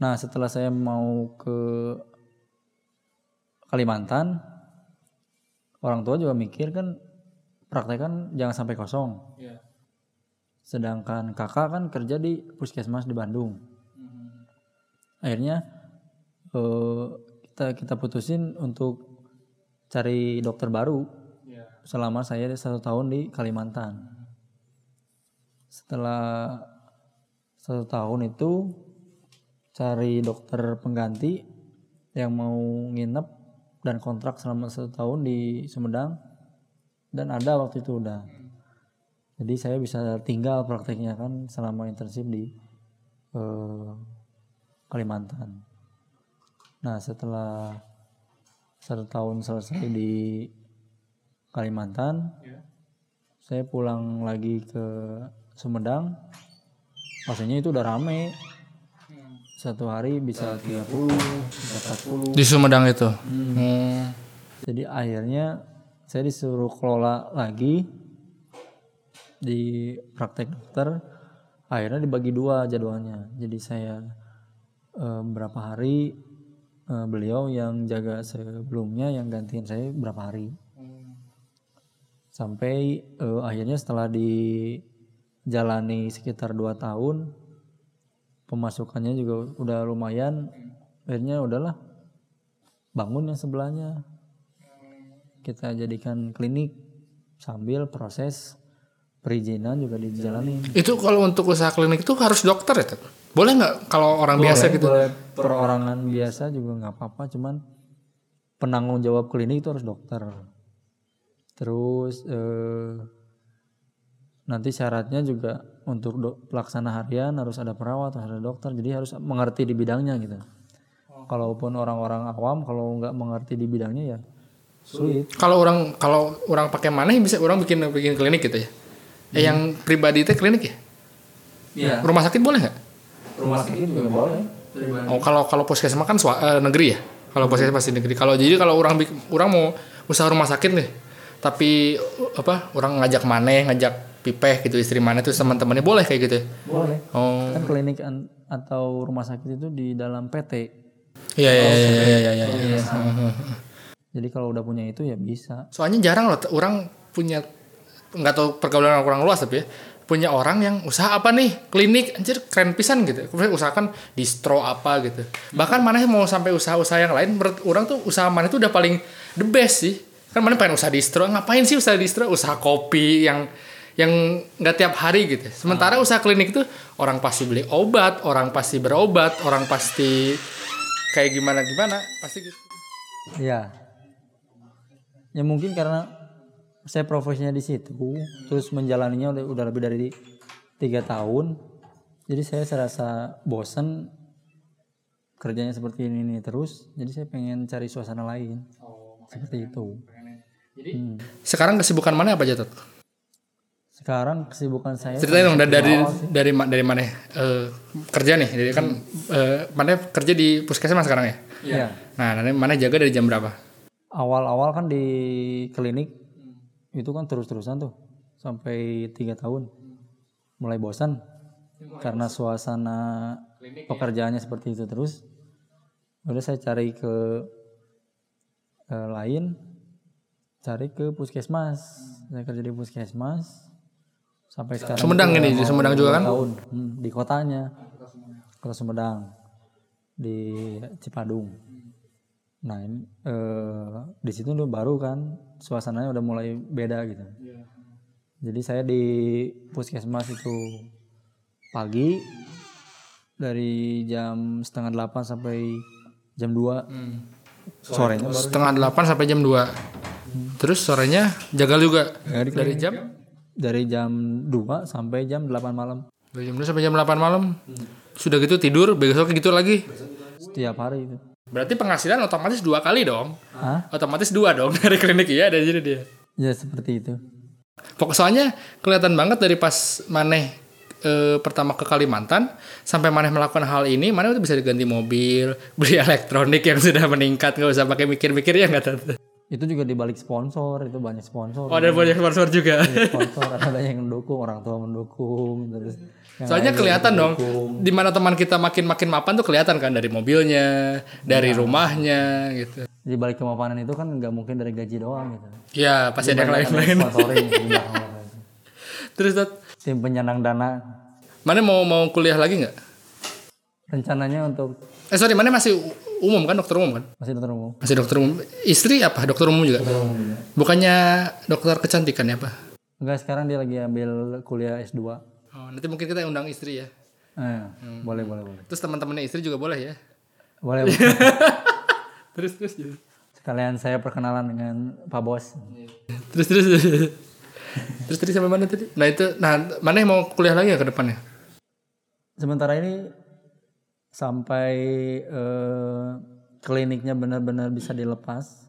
B: Nah setelah saya mau ke Kalimantan, orang tua juga mikir kan praktek kan jangan sampai kosong. Sedangkan kakak kan kerja di puskesmas di Bandung. Akhirnya eh, kita kita putusin untuk cari dokter baru selama saya ada satu tahun di Kalimantan. Setelah satu tahun itu cari dokter pengganti yang mau nginep dan kontrak selama satu tahun di Sumedang dan ada waktu itu udah. Jadi saya bisa tinggal prakteknya kan selama internship di eh, Kalimantan. Nah setelah satu tahun selesai di Kalimantan, saya pulang lagi ke Sumedang. Pastinya itu udah rame. Hmm. Satu hari bisa 30, bisa 40,
A: Di Sumedang itu. Hmm.
B: Jadi akhirnya saya disuruh kelola lagi di praktek dokter. Akhirnya dibagi dua jadwalnya. Jadi saya eh, berapa hari eh, beliau yang jaga sebelumnya yang gantiin saya berapa hari. Sampai eh, akhirnya setelah dijalani sekitar dua tahun pemasukannya juga udah lumayan. Akhirnya udahlah bangun yang sebelahnya kita jadikan klinik sambil proses perizinan juga dijalani
A: Itu kalau untuk usaha klinik itu harus dokter ya? Tet? Boleh nggak kalau orang biasa gitu?
B: Boleh perorangan biasa juga nggak apa-apa cuman penanggung jawab klinik itu harus dokter terus eh, nanti syaratnya juga untuk do- pelaksana harian harus ada perawat harus ada dokter jadi harus mengerti di bidangnya gitu kalaupun orang-orang awam kalau nggak mengerti di bidangnya ya sulit
A: Kalau orang kalau orang pakai mana bisa orang bikin bikin klinik gitu ya? Eh, yang pribadi itu klinik ya?
B: Iya.
A: Rumah sakit boleh nggak?
B: rumah sakit juga boleh
A: Oh kalau kalau puskesmas kan swa- eh, negeri ya. Kalau puskesmas pasti negeri. Kalau jadi kalau orang bik- orang mau usaha rumah sakit nih, tapi uh, apa orang ngajak maneh, ngajak pipeh gitu istri maneh terus teman-temannya boleh kayak gitu. ya?
B: boleh
A: Oh
B: kan klinik an- atau rumah sakit itu di dalam PT
A: iya iya iya iya iya. iya, iya.
B: jadi kalau udah punya itu ya bisa
A: Soalnya jarang loh t- orang punya nggak tahu pergaulan orang kurang luas tapi ya, punya orang yang usaha apa nih klinik anjir keren pisan gitu kemudian usahakan distro apa gitu bahkan mana mau sampai usaha-usaha yang lain menurut orang tuh usaha mana itu udah paling the best sih kan mana pengen usaha distro ngapain sih usaha distro usaha kopi yang yang nggak tiap hari gitu sementara usaha klinik tuh orang pasti beli obat orang pasti berobat orang pasti kayak gimana gimana pasti gitu
B: ya ya mungkin karena saya profesinya di situ terus menjalaninya udah, udah lebih dari tiga tahun jadi saya serasa bosen kerjanya seperti ini, ini terus jadi saya pengen cari suasana lain seperti itu Hmm.
A: sekarang kesibukan mana apa Jatot?
B: sekarang kesibukan saya
A: ceritain dong dari dari dari, ma- dari mana eh, kerja nih dari kan eh, mana kerja di puskesmas sekarang ya
B: ya
A: nah nanti mana jaga dari jam berapa
B: awal-awal kan di klinik itu kan terus-terusan tuh sampai tiga tahun mulai bosan karena suasana pekerjaannya seperti itu terus udah saya cari ke eh, lain cari ke puskesmas saya kerja di puskesmas sampai sekarang
A: Sumedang kan?
B: itu
A: ini, di
B: udah mau
A: Sumedang juga
B: dua
A: kan?
B: tahun Hmm, di kotanya kota Sumedang di Cipadung. Nah ini eh, di situ udah baru kan suasananya udah mulai beda gitu. Jadi saya di puskesmas itu pagi dari jam setengah delapan sampai jam dua sorenya baru
A: Setengah delapan sampai jam 2 Terus sorenya jagal juga dari jam
B: dari jam 2 sampai jam 8 malam
A: dari jam 2 sampai jam 8 malam. Sudah gitu tidur, besok gitu lagi.
B: setiap hari itu.
A: Berarti penghasilan otomatis dua kali dong.
B: Hah?
A: Otomatis dua dong dari klinik iya ada jadi dia.
B: Ya seperti itu.
A: Pokok- Soalnya kelihatan banget dari pas Maneh eh, pertama ke Kalimantan sampai Maneh melakukan hal ini, Maneh tuh bisa diganti mobil, beli elektronik yang sudah meningkat, nggak usah pakai mikir-mikir ya nggak tante.
B: Itu juga dibalik sponsor, itu banyak sponsor.
A: Oh, ada banyak sponsor juga.
B: Sponsor ada yang mendukung, orang tua mendukung, terus yang
A: Soalnya kelihatan dong, di mana teman kita makin makin mapan tuh kelihatan kan dari mobilnya, dari rumahnya gitu.
B: dibalik kemapanan itu kan nggak mungkin dari gaji doang gitu.
A: Ya pasti ada yang lain-lain.
B: Sponsoring di belakang.
A: Terus Tat,
B: tim penyandang dana
A: Maneh mau mau kuliah lagi nggak?
B: rencananya untuk
A: Eh sorry, Maneh masih u- umum kan dokter umum kan?
B: masih dokter umum.
A: Masih dokter umum. Istri apa? Dokter umum juga. Bukannya dokter kecantikan ya, Pak?
B: Enggak sekarang dia lagi ambil kuliah S2.
A: Oh, nanti mungkin kita undang istri ya.
B: Eh,
A: Hmm.
B: boleh boleh boleh.
A: Terus teman-temannya istri juga boleh ya.
B: Boleh. boleh.
A: Terus terus terus.
B: Sekalian saya perkenalan dengan Pak Bos.
A: Terus terus. terus tadi sampai mana tadi? Nah, itu nah Maneh mau kuliah lagi ya ke depannya?
B: sementara ini sampai eh, kliniknya benar-benar bisa dilepas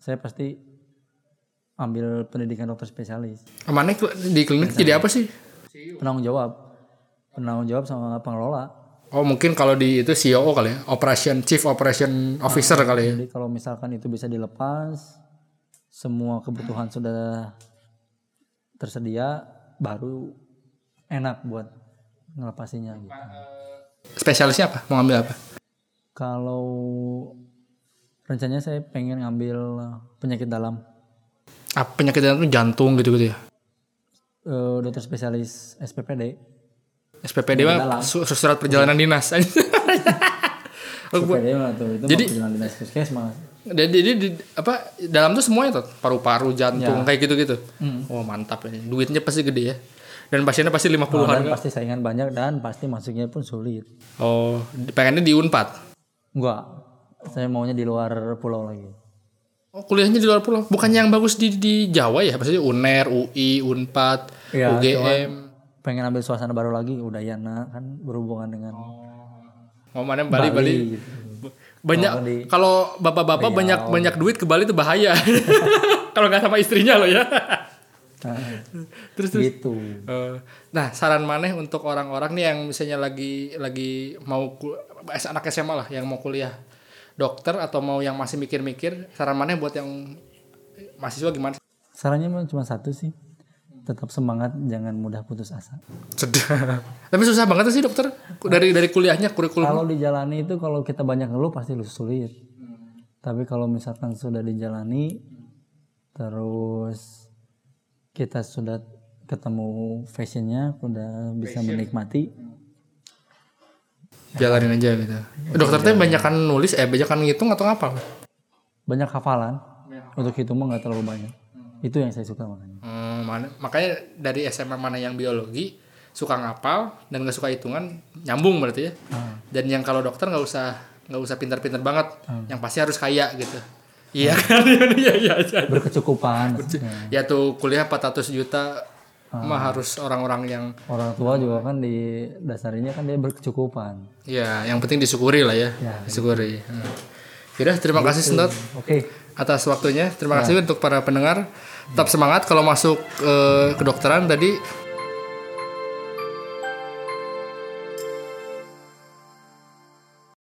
B: saya pasti ambil pendidikan dokter spesialis
A: Maneh kl- Oh, di klinik jadi apa sih?
B: penanggung jawab penanggung jawab sama pengelola
A: Oh, mungkin kalau di itu COO kali ya, Operation Chief Operation Officer kali ya.
B: jadi kalau misalkan itu bisa dilepas semua kebutuhan sudah tersedia baru enak buat ngelepasinya gitu
A: Spesialisnya apa? Mau ngambil apa?
B: kalau rencananya saya pengen ngambil penyakit dalam
A: Apa Ah, penyakit dalam itu jantung gitu-gitu ya.
B: eh, dokter spesialis SPPD
A: SPPD mah su- surat perjalanan dinas. Oh,
B: SPPD mah tuh itu jadi dinas puskesmas
A: Jadi, jadi di- apa dalam tuh semuanya tuh paru-paru, jantung kayak gitu-gitu. Oh, mantap ini. Duitnya pasti gede ya. Dan pasiennya pasti 50-an.
B: dan pasti saingan banyak dan pasti masuknya pun sulit
A: Oh, di- pengennya di Unpad.
B: enggak saya maunya di luar pulau lagi
A: Oh, kuliahnya di luar pulau. Bukannya yang bagus di di Jawa ya? Maksudnya UNER, UI, Unpad,
B: Iya,
A: UGM.
B: pengen ambil suasana baru lagi Udayana kan berhubungan dengan
A: Oh, mana Bali, Bali.
B: gitu.
A: Banyak kalau bapak-bapak banyak banyak duit ke Bali tuh bahaya. kalau nggak sama istrinya loh ya.
B: Nah,
A: Terus
B: gitu
A: Eh, nah saran maneh untuk orang-orang nih yang misalnya lagi lagi mau kul- S- anak SMA lah yang mau kuliah dokter atau mau yang masih mikir-mikir saran maneh buat yang mahasiswa gimana
B: sarannya mah cuma satu sih tetap semangat jangan mudah putus asa
A: sedap tapi susah banget sih dokter dari dari kuliahnya kurikulum
B: kalau dijalani itu kalau kita banyak ngeluh pasti lu sulit tapi kalau misalkan sudah dijalani terus kita sudah ketemu fashionnya udah bisa menikmati
A: jalanin aja gitu dokter teh banyak kan nulis eh banyak kan ngitung atau apa
B: banyak hafalan untuk itu mah nggak terlalu banyak itu yang saya suka makanya
A: hmm, mana- makanya dari SMA mana yang biologi suka ngapal dan nggak suka hitungan nyambung berarti ya
B: Hmm.
A: dan yang kalau dokter nggak usah nggak usah pintar-pintar banget
B: Hmm.
A: yang pasti harus kaya gitu iya kan iya iya iya.
B: berkecukupan maksudnya.
A: ya tuh kuliah 400 juta
B: Hmm.
A: mah harus orang-orang yang
B: orang tua juga kan di dasarnya kan dia berkecukupan
A: ya yang penting disyukuri lah ya,
B: Ya, Gitu.
A: disyukuri Hmm. Yaudah, terima kasih Sentot
B: oke
A: atas
B: Ya.
A: waktunya terima kasih untuk para pendengar tetap semangat kalau masuk eh, kedokteran tadi